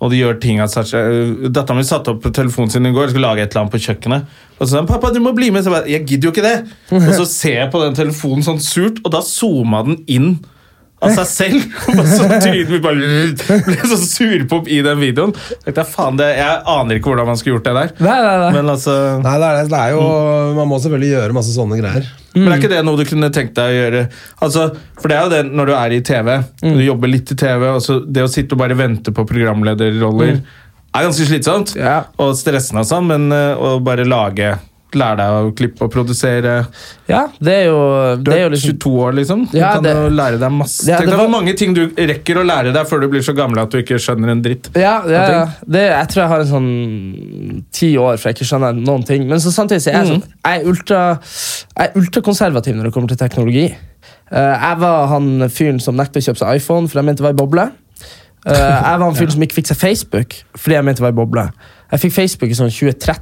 S1: Og de gjør ting at such- øh, Datteren min satte opp telefonen sin i går og skulle lage et eller annet på kjøkkenet. Og så sa hun 'pappa, du må bli med'. Så jeg bare 'jeg gidder jo ikke det'. Og så ser jeg på den telefonen sånn surt, og da zooma den inn. Av seg selv! Og så trynet mitt bare ble så surpomp i den videoen. Jeg, tenkte, faen det, jeg aner ikke hvordan man skulle gjort det der.
S3: Nei, nei, nei.
S1: Men altså
S2: Nei, det er, det. det er jo, Man må selvfølgelig gjøre masse sånne greier.
S1: Men
S3: Mm.
S1: er ikke det noe du kunne tenkt deg å gjøre? Altså, for det er jo det når du er i TV,
S3: Mm.
S1: du jobber litt i TV, og så det å sitte og bare vente på programlederroller er ganske slitsomt
S3: Mm. Ja.
S1: og stressende og sånn, men eh, å bare lage Lære deg å klippe og produsere.
S3: Ja, det er jo,
S1: Du
S3: det
S1: er,
S3: er jo liksom
S1: 22 år, liksom. Du
S3: Ja,
S1: kan
S3: det-
S1: jo lære deg masse.
S3: Ja,
S1: Tenk
S3: det
S1: deg
S3: var-
S1: hvor mange ting du rekker å lære deg før du blir så gammel at du ikke skjønner en dritt.
S3: Ja, ja, ja. Det, jeg tror jeg har en sånn ti år, for jeg ikke skjønner noen ting. Men så samtidig så er jeg, sånn, jeg, er ultra, jeg er ultrakonservativ når det kommer til teknologi. Eh, jeg var han fyren som nekta å kjøpe seg iPhone, for jeg mente det var ei boble. Eh, jeg var han fyren som ikke fikk seg Facebook, fordi jeg mente det var ei boble. Jeg fikk Facebook i sånn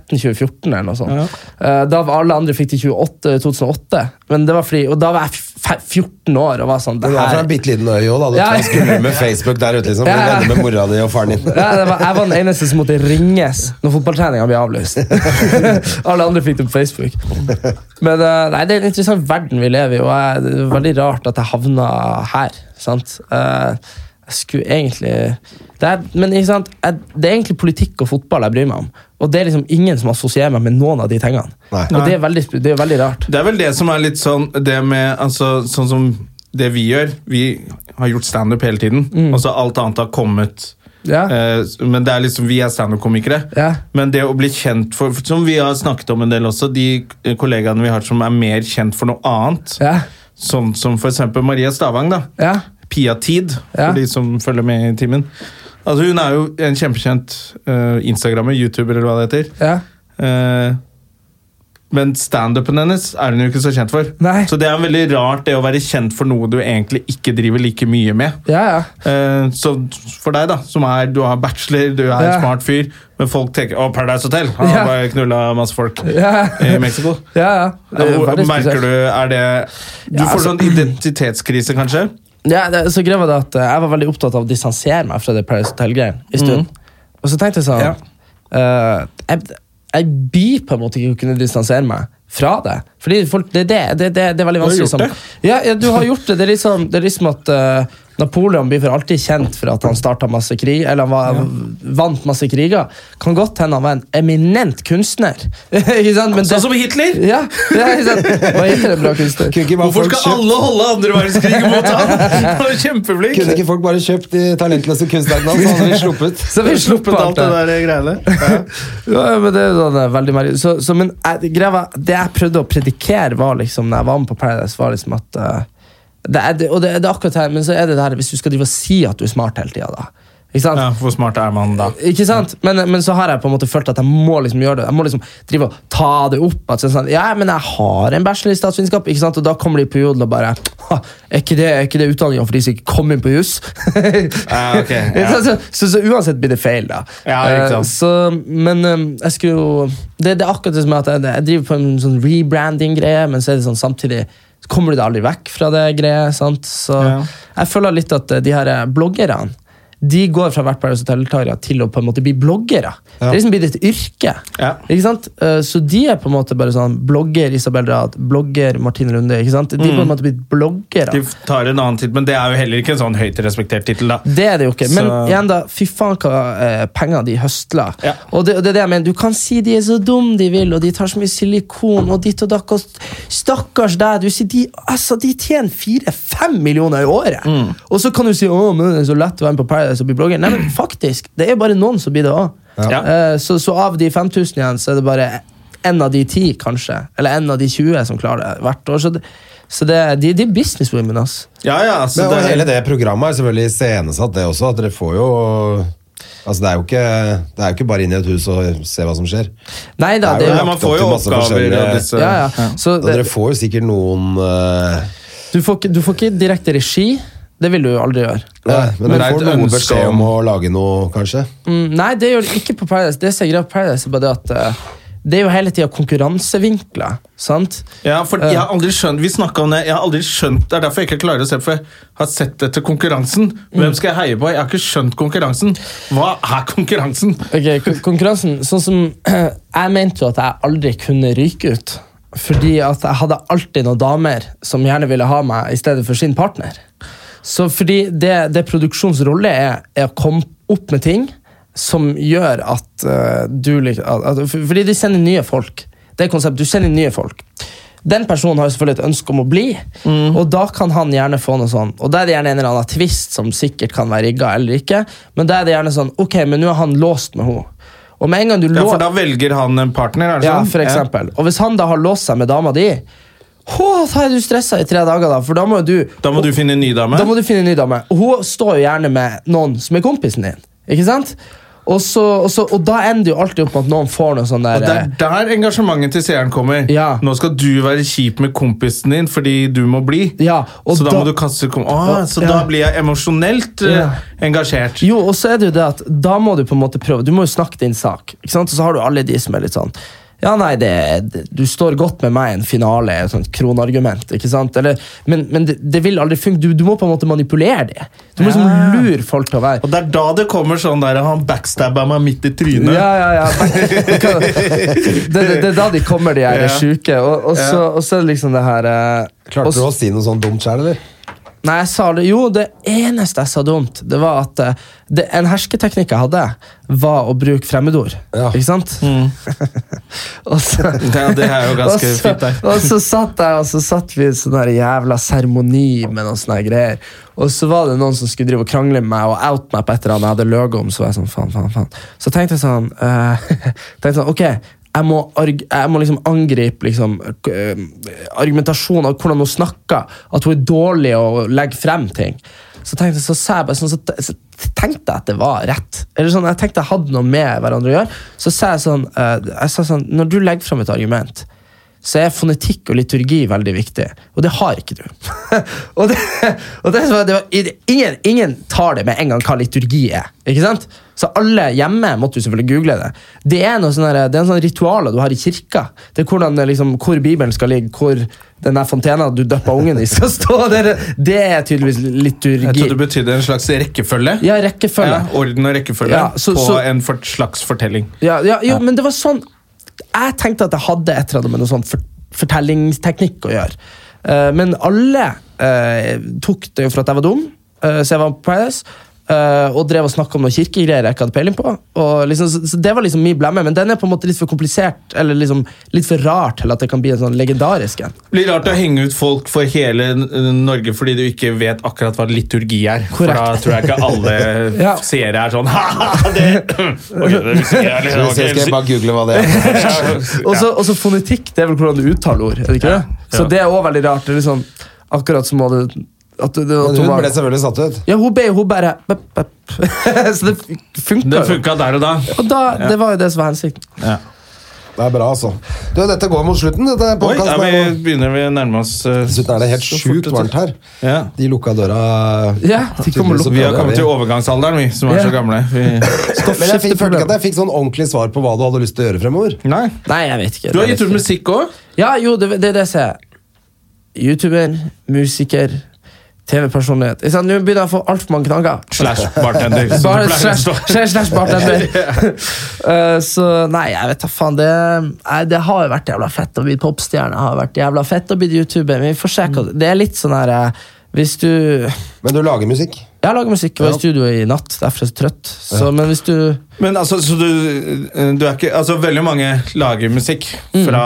S3: 2013-2014. eller noe sånt. Eh, da var alle andre fikk det i 28 2008. Men det var fordi, og da var jeg f- f- 14 år og var sånn det
S2: Men Du er fra
S3: her,
S2: en bitte liten øy òg, da. Du
S3: Ja.
S2: kan skulle med Facebook der ute, liksom. Bli
S3: Ja, ja.
S2: venner med mora di og faren din.
S3: Ja, det var, jeg var den eneste som måtte ringes når fotballtreninga ble avlyst. Alle andre fikk det på Facebook. Men eh, nei, Det er en interessant verden vi lever i, og jeg, det er veldig rart at jeg havna her. sant? Eh, jeg skulle egentlig det er, Men ikke sant? Jeg, det er egentlig politikk og fotball jeg bryr meg om. Og det er liksom ingen som assosierer meg med noen av de tingene.
S2: Nei.
S3: Og det er veldig, sp- det er veldig rart.
S1: Det er vel det som er litt sånn det med, altså, Sånn som det vi gjør. Vi har gjort standup hele tiden,
S3: Mm.
S1: og så alt annet har kommet.
S3: Ja.
S1: Eh, men det er liksom, Vi er standup-komikere.
S3: Ja.
S1: Men det å bli kjent for Som vi har snakket om en del også, de eh, kollegaene vi har som er mer kjent for noe annet,
S3: Ja.
S1: sånn som f.eks. Maria Stavang. da
S3: Ja.
S1: Pia Tid,
S3: Ja.
S1: for de som følger med i timen. Altså, hun er jo en kjempekjent eh, instagrammer, youtuber eller hva det heter.
S3: Ja.
S1: Eh, men standupen hennes er hun jo ikke så kjent for.
S3: Nei.
S1: Så det er veldig rart det å være kjent for noe du egentlig ikke driver like mye med.
S3: Ja, ja.
S1: Eh, så for deg, da, som er du har bachelor, du er
S3: Ja.
S1: en smart fyr, men folk tenker 'Å, Paradise Hotel'. Han
S3: Ja.
S1: har bare knulla masse folk
S3: Ja.
S1: Eh, i Mexico.
S3: ja, ja. Det er
S1: Hvor-
S3: veldig
S1: merker
S3: spesielt.
S1: du, er det, du
S3: Ja,
S1: får sånn
S3: altså-
S1: identitetskrise, kanskje?
S3: Ja, det, så greia var det at eh, Jeg var veldig opptatt av å distansere meg fra det Paris Hotel-greien. i stund. Og så tenkte jeg sånn
S1: Mhm. Ja.
S3: eh, jeg, jeg byr på en måte ikke å kunne distansere meg fra det. Fordi folk, det, er det, det, det, det er veldig
S1: har
S3: vanskelig.
S1: gjort
S3: som-
S1: det.
S3: Ja, ja, du har gjort det. Det er liksom, det er liksom at eh, Napoleon blir for alltid kjent for at han startet masse krig, eller han var, vant masse kriger. Kan godt hende han var en eminent kunstner. ikke sant? Men det,
S1: Sånn som Hitler!
S3: ja, ja, ikke sant? Hva heter en bra kunstner?
S2: Kunne ikke, bare
S1: Hvorfor
S2: folk kjøpt,
S1: skal alle holde andre verdenskrig mot ham?! Han er kjempeflink!
S2: kunne ikke folk bare kjøpt de talentløse kunstnerne hans, så hadde vi sluppet?
S3: Så vi sluppet alt det der.
S1: der greiene.
S3: Ja, men det er sånn, det er veldig merkelig. Så, så, men jeg, greia var- det jeg prøvde å predikere var liksom, når jeg var med på Paradise, var liksom at eh, det er, det- Og det, det er akkurat her, men så er det det her hvis du skal drive og si at du er smart hele tida, da. Ikke sant?
S1: Ja, hvor smart er man da?
S3: Ikke sant? Men, men så har jeg på en måte følt at jeg må liksom gjøre det. Jeg må liksom drive og ta det opp. At sånn, sånn, ja, men jeg har en bachelor i statsvitenskap, ikke sant? og da kommer de på jodel og bare «Ha, Er ikke det, er ikke det utdanninga for de som ikke kom inn på juss?
S1: Ja, Ah, ok, ja.
S3: så, så, så, så uansett blir det feil, da.
S1: Ja, ikke sant.
S3: Eh, så, men eh, jeg skulle jo det, det er akkurat det som er at jeg, jeg driver på en sånn rebranding-greie, men så er det sånn samtidig så kommer du deg aldri vekk fra det greiet. sant? Så
S1: Ja.
S3: jeg føler litt at eh, de her eh, bloggerne de går fra hvert Paradise Hotel-deltakere til å på en måte bli bloggere. Det er liksom blitt et yrke.
S1: Ja.
S3: Ikke sant? Eh, Så de er på en måte bare sånn blogger Isabel Rad, blogger Martin Runde. ikke sant? De er på en måte blitt bloggere.
S1: Mm. De tar en annen tittel, men det er jo heller ikke en sånn høyt respektert tittel, da.
S3: Det er det jo ikke. Men
S1: Så-
S3: igjen, da, fy faen hva eh, penger de høsler.
S1: Ja.
S3: Og, det, og det er det jeg mener. Du kan si de er så dumme de vil, og de tar så mye silikon og ditt og datt. og st- Stakkars deg. Du sier de, altså, de tjener fire-fem millioner i året.
S1: Mm.
S3: Og så kan du si å, men det er så lett å være med på Paradise og bli blogger. Nei, men faktisk, det er bare noen som blir det òg.
S1: Ja.
S3: så, så av de 5000 igjen, så er det bare en av de ti, kanskje. Eller en av de 20 som klarer det hvert år. Så, det, så det, de, de er businesswomen, ass.
S1: Ja, ja, altså,
S2: Men, og
S1: det-
S2: hele det programmet er selvfølgelig iscenesatt, det også. At dere får jo Altså, det er jo ikke, det er jo ikke bare inn i et hus og se hva som skjer.
S3: Nei da,
S2: Det
S3: det
S2: er
S3: er
S1: Ja,
S3: jo
S1: man
S2: lagt opp
S1: får jo
S2: til masse
S1: oppgaver
S2: forskjellige-
S1: og disse
S3: ja, ja. Så
S2: Og dere får jo sikkert noen eh,
S3: Du får, ikke, du får ikke direkte regi. Det vil du jo aldri gjøre.
S2: nei, Men
S1: Men
S2: dere
S1: det er
S2: får
S1: et
S2: noen
S1: ønske
S2: beskjed om å lage noe, kanskje.
S3: Mm, nei, det gjør du ikke på Paradise. Det som er greia på Paradise, er bare det at eh, det er jo hele tida konkurransevinkler. sant?
S1: Ja, for jeg har aldri skjønt Vi snakket om det. Jeg har aldri skjønt Det er derfor jeg ikke klarer å se For jeg har sett etter konkurransen. Hvem skal jeg heie på? Jeg har ikke skjønt konkurransen. Hva er konkurransen?
S3: Ok, kon- Konkurransen Sånn som Jeg mente jo at jeg aldri kunne ryke ut. Fordi at jeg hadde alltid noen damer som gjerne ville ha meg i stedet for sin partner. Så fordi det, det produksjonens rolle er, er å komme opp med ting som gjør at eh, du lik- at, at, for- Fordi de sender nye folk. Det er konseptet. Du sender nye folk. Den personen har jo selvfølgelig et ønske om å bli,
S1: Mm.
S3: og da kan han gjerne få noe sånn. Og da er det gjerne en eller annen tvist som sikkert kan være rigga eller ikke, men da er det gjerne sånn Ok, men nå er han låst med henne. Og med en gang du
S1: Ja,
S3: lå-
S1: For da velger han en partner, er det
S3: ja,
S1: sånn?
S3: for eksempel. Og hvis han da har låst seg med dama di, hå, da er du stressa i tre dager, da, for da må jo du
S1: Da må du finne en ny dame.
S3: da må du finne en ny dame. Og hun står jo gjerne med noen som er kompisen din. Ikke sant? Og, så, og, så, og da ender det jo alltid opp med at noen får noe sånn der
S1: Det er der engasjementet til seeren kommer.
S3: Ja.
S1: Nå skal du være kjip med kompisen din fordi du må bli.
S3: Ja, og
S1: så da,
S3: da-
S1: må du kaste kom ah, Så
S3: Ja.
S1: da blir jeg emosjonelt eh,
S3: Ja.
S1: engasjert.
S3: Jo, og så er det jo det at da må du på en måte prøve. Du må jo snakke din sak. ikke sant? Og så har du alle de som er litt sånn ja, nei, det, det- du står godt med meg i en finale, et sånt kronargument. ikke sant? Eller, men men det, det vil aldri funke. Du, du må på en måte manipulere det. Du må liksom lure folk til å være
S1: Og det er da det kommer sånn der Han backstabba meg midt i trynet.
S3: Ja, ja, ja. det, det, det er da de kommer, de her
S1: Ja.
S3: sjuke. Og, og, så, og så er det liksom det her eh, og
S2: Klarte
S3: s-
S2: du å si noe sånn dumt sjøl, eller?
S3: Nei, jeg sa det Jo, det eneste jeg sa dumt, det var at eh, det, en hersketeknikk jeg hadde, var å bruke fremmedord.
S2: Ja.
S3: Ikke sant? og så
S1: Ja, det er jo
S3: og
S1: Mm. ganske
S3: så,
S1: fint der.
S3: og så satt jeg og så satt vi i en sånn her jævla seremoni med noen sånne her greier. Og så var det noen som skulle drive og krangle med meg og out meg på et eller annet jeg hadde løyet om. Så var jeg sånn, faen, faen, faen. Så tenkte jeg sånn, eh, tenkte sånn Ok, jeg må, arg jeg må liksom angripe liksom, eh, argumentasjonen av hvordan hun snakker. At hun er dårlig og legger frem ting. Så tenkte jeg, så sa jeg bare sånn, så, te- så tenkte jeg at det var rett. Eller sånn, Jeg tenkte jeg hadde noe med hverandre å gjøre. Så sa jeg sånn, eh, jeg sa sånn Når du legger frem et argument så er fonetikk og liturgi veldig viktig. Og det har ikke du. og det, og det, var, det var, ingen, ingen tar det med en gang hva liturgi er. ikke sant? Så alle hjemme måtte jo selvfølgelig google det. Det er noe sånne, det er en sånn ritualer du har i kirka. Det er hvordan, det liksom, Hvor Bibelen skal ligge, hvor den der fontena du døppa ungen i, skal stå. Det, er- det er tydeligvis
S1: Jeg
S3: liturgi.
S1: trodde det betydde en slags rekkefølge.
S3: Ja, rekkefølge.
S1: Ja, orden og rekkefølge
S3: Ja, så-
S1: på
S3: så-
S1: en for, slags fortelling.
S3: Ja, ja, jo, men det var sånn Jeg tenkte at jeg hadde et eller annet med noe sånn for, fortellingsteknikk å gjøre. Eh, men alle eh, tok det jo for at jeg var dum, eh, så jeg var på Paradise. eh, og drev og snakka om noen kirkegreier jeg ikke hadde peiling på. Og liksom, så, så det var liksom min blemme, Men den er på en måte litt for komplisert Eller liksom litt for rar til at det kan bli en sånn legendarisk en.
S1: Det blir rart å henge ut folk for hele eh, Norge fordi du ikke vet akkurat hva liturgi er. For da
S3: Korrekt.
S1: tror jeg ikke alle
S3: Ja.
S1: seere er sånn Ha-ha, det Ok, det visste jeg
S4: Skal vi
S1: litt,
S4: se,
S1: liksom. ok.
S4: skal jeg bare google hva det er?
S3: Og så og så fonetikk, det er vel hvordan du uttaler ord. Er det ikke det? Så det er òg veldig rart. Det er liksom, akkurat som hadde at, det- at
S4: Men
S3: hun
S4: hun
S3: var-
S4: ble selvfølgelig satt ut.
S3: Ja, hun ble hun bare bep, bep. Så det funka
S1: Det
S3: jo.
S1: funka der og da.
S3: Og da, Det var jo det som var hensikten.
S4: Det er bra, altså. Du, dette går mot slutten. Dette
S1: Oi, da
S4: podcasten
S1: vi
S4: er jo-
S1: begynner vi å nærme oss eh,
S4: Dessuten er det helt
S1: så
S4: sjukt
S1: fort,
S4: varmt her.
S1: Ja.
S4: De lukka døra
S3: Ja, de kommer
S4: tydeligvis,
S3: og
S4: så
S1: Vi har
S4: prøver
S1: kommet
S4: vi.
S1: til overgangsalderen, vi som er så
S3: Ja.
S1: gamle. Vi...
S4: Men jeg fikk, følte ikke
S3: Skifteproblem.
S4: at jeg fikk sånn ordentlig svar på hva du hadde lyst til å gjøre fremover.
S1: Nei.
S3: Nei, jeg vet ikke.
S1: Du har
S3: Jeg
S1: gitt
S3: vet
S1: ut
S3: ikke.
S1: musikk òg.
S3: Ja, jo, det det er det jeg ser. Youtuber, musiker, TV-personlighet. Ikke sant? Nå begynner jeg å få altfor mange knagger.
S1: Slash bartender. som
S3: Bare
S1: det pleier å
S3: slash,
S1: stå.
S3: slash, slash bartender. Eh, så nei, jeg vet da faen. Det, nei, det har jo vært jævla fett å bli popstjerne. Det har vært jævla fett å bli YouTuber. Men vi får se hva Det er litt sånn her eh, Hvis du Jeg
S4: Men du lager musikk.
S3: har laget musikk og var i studio i natt, derfor er jeg så trøtt. Så, men hvis du
S1: Men altså, så du, du er ikke, altså, veldig mange lager musikk
S3: Mm.
S1: fra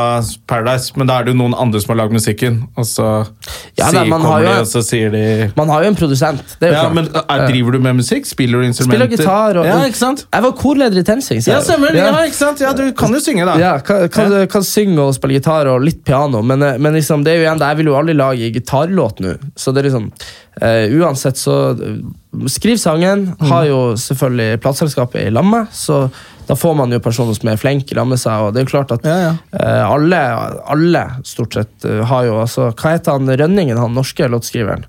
S1: Paradise, men da er det jo noen andre som har lagd musikken, og så
S3: Ja,
S1: sier,
S3: nei, man har
S1: kommer de,
S3: jo-
S1: og så sier de
S3: Man har jo en produsent. Det er jo
S1: ja,
S3: klart.
S1: men er,
S3: Eh,
S1: Driver du med musikk? Spiller du instrumenter?
S3: Spiller gitar og
S1: Ja, ikke sant?
S3: Jeg var korleder i TenSing.
S1: Ja, stemmer. Ja, ikke sant? Ja, du kan jo synge, da.
S3: Ja, kan, kan, kan synge og spille gitar og litt piano, men, eh, men liksom, det er jo igjen, det, jeg vil jo aldri lage gitarlåt nå. Så det er liksom eh, Uansett, så eh, Skriv sangen.
S1: Mm.
S3: Har jo selvfølgelig plateselskapet i lamme, så da får man jo personer som er flinke i lag med seg, og det er jo klart at
S1: Ja, ja.
S3: eh, alle, alle stort sett eh, har jo altså Hva heter han Rønningen, han norske låtskriveren?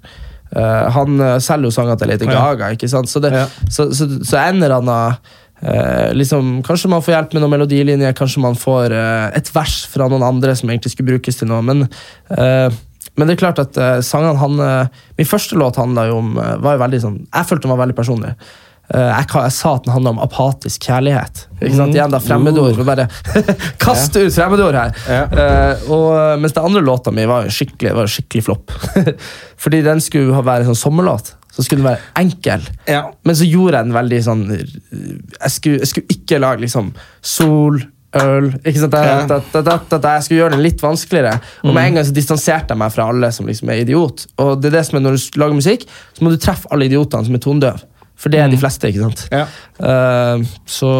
S3: Eh, han eh, selger jo sanger til Lady
S1: Ja.
S3: Gaga, ikke sant? Så, det,
S1: Ja.
S3: så, så, så en eller annen eh, liksom, Kanskje man får hjelp med noen melodilinjer, kanskje man får eh, et vers fra noen andre som egentlig skulle brukes til noe, men eh, men det er klart at eh, sangene han eh, Min første låt handla jo om eh, var jo veldig sånn, Jeg følte den var veldig personlig. Eh, jeg, ka- jeg sa at den handla om apatisk kjærlighet. Ikke
S1: Mm.
S3: sant? Igjen da, Fremmedord. og Bare kaste ut fremmedord her! Eh, og, mens den andre låta mi var jo skikkelig, var jo skikkelig flopp. Fordi den skulle ha- være en sånn sommerlåt. Så skulle den være enkel.
S1: Ja.
S3: Men så gjorde jeg den veldig sånn Jeg skulle, jeg skulle ikke lage liksom sol, øl ikke sant? Da,
S1: Ja. Mm.
S3: da, da, da, da, da, jeg skulle gjøre den litt vanskeligere. Og med en gang så distanserte jeg meg fra alle som liksom er idiot. Og det er det som er når du lager musikk, så må du treffe alle idiotene som er tondøve. For det er de fleste, ikke sant?
S1: Mm. Ja.
S3: Eh, så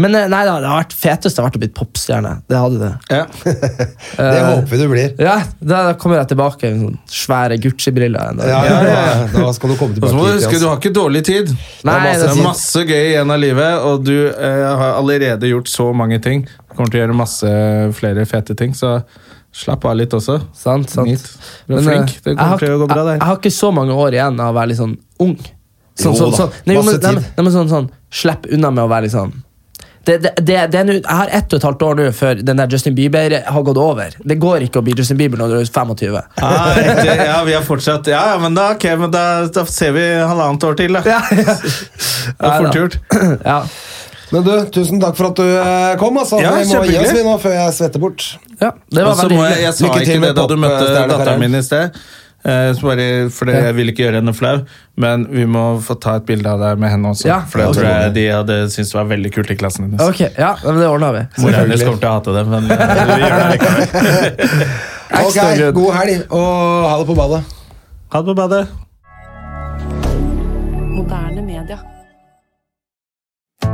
S3: Men eh, nei da, det har vært fetest det har vært å bli popstjerne. Det hadde det.
S1: Ja.
S4: Det håper vi du blir.
S3: Ja, Da kommer jeg tilbake med sånne svære Gucci-briller. en dag.
S4: Ja, ja, ja. Da skal du komme
S1: Og
S4: tilbake
S1: så må du
S4: hit
S1: huske,
S4: til
S1: du
S4: oss.
S1: har ikke dårlig tid.
S3: Nei,
S1: det er
S3: det er
S1: masse gøy igjen av livet, og du eh, har allerede gjort så mange ting. Du kommer til å gjøre masse flere fete ting, så slapp av litt også.
S3: Sant, sant.
S1: Nytt. Du er
S3: Men,
S1: flink. Det
S3: eh, jeg
S1: kommer
S3: har-
S1: til å gå bra, det her.
S3: Jeg, jeg har ikke så mange år igjen av å være litt sånn ung. Sånn,
S4: Jo
S3: sånn,
S4: da,
S3: sånn, nei, jo, men,
S4: masse
S3: nei, men,
S4: tid.
S3: nei, men sånn, sånn, slipp unna med å være litt sånn det, det, det, det er nå- jeg har ett og et halvt år nå før den der Justin Bieber har gått over. Det går ikke å bli Justin Bieber når du er 25.
S1: Ja, riktig. ja, vi har fortsatt Ja, ja, men da, ok, men da, da ser vi halvannet år til, da. Det er fort gjort.
S3: Ja.
S4: Men du, tusen takk for at du eh, kom, altså.
S1: Ja,
S4: vi må gi oss
S1: kjempehyggelig.
S4: vi nå før jeg svetter bort.
S3: ja, det
S1: Og
S3: var
S1: så
S3: veldig
S1: må jeg, jeg sa
S4: Lykke til
S1: ikke det
S4: med
S1: da du møtte
S4: popstjernekarrieren.
S1: datteren min i sted. eh, så bare, for det, Jeg vil ikke gjøre henne flau, men vi må få ta et bilde av deg med henne også.
S3: Ja,
S1: for det
S3: ok.
S1: tror jeg de hadde syntes var veldig kult i klassen hennes.
S3: Ok, ja, men det ordna vi.
S1: Mora hennes kommer til å hate det, men eh, vi gjør det likevel.
S4: Ok,
S3: Ekstra good.
S4: god helg, og ha det på badet.
S1: Ha det på badet.
S5: Moderne media.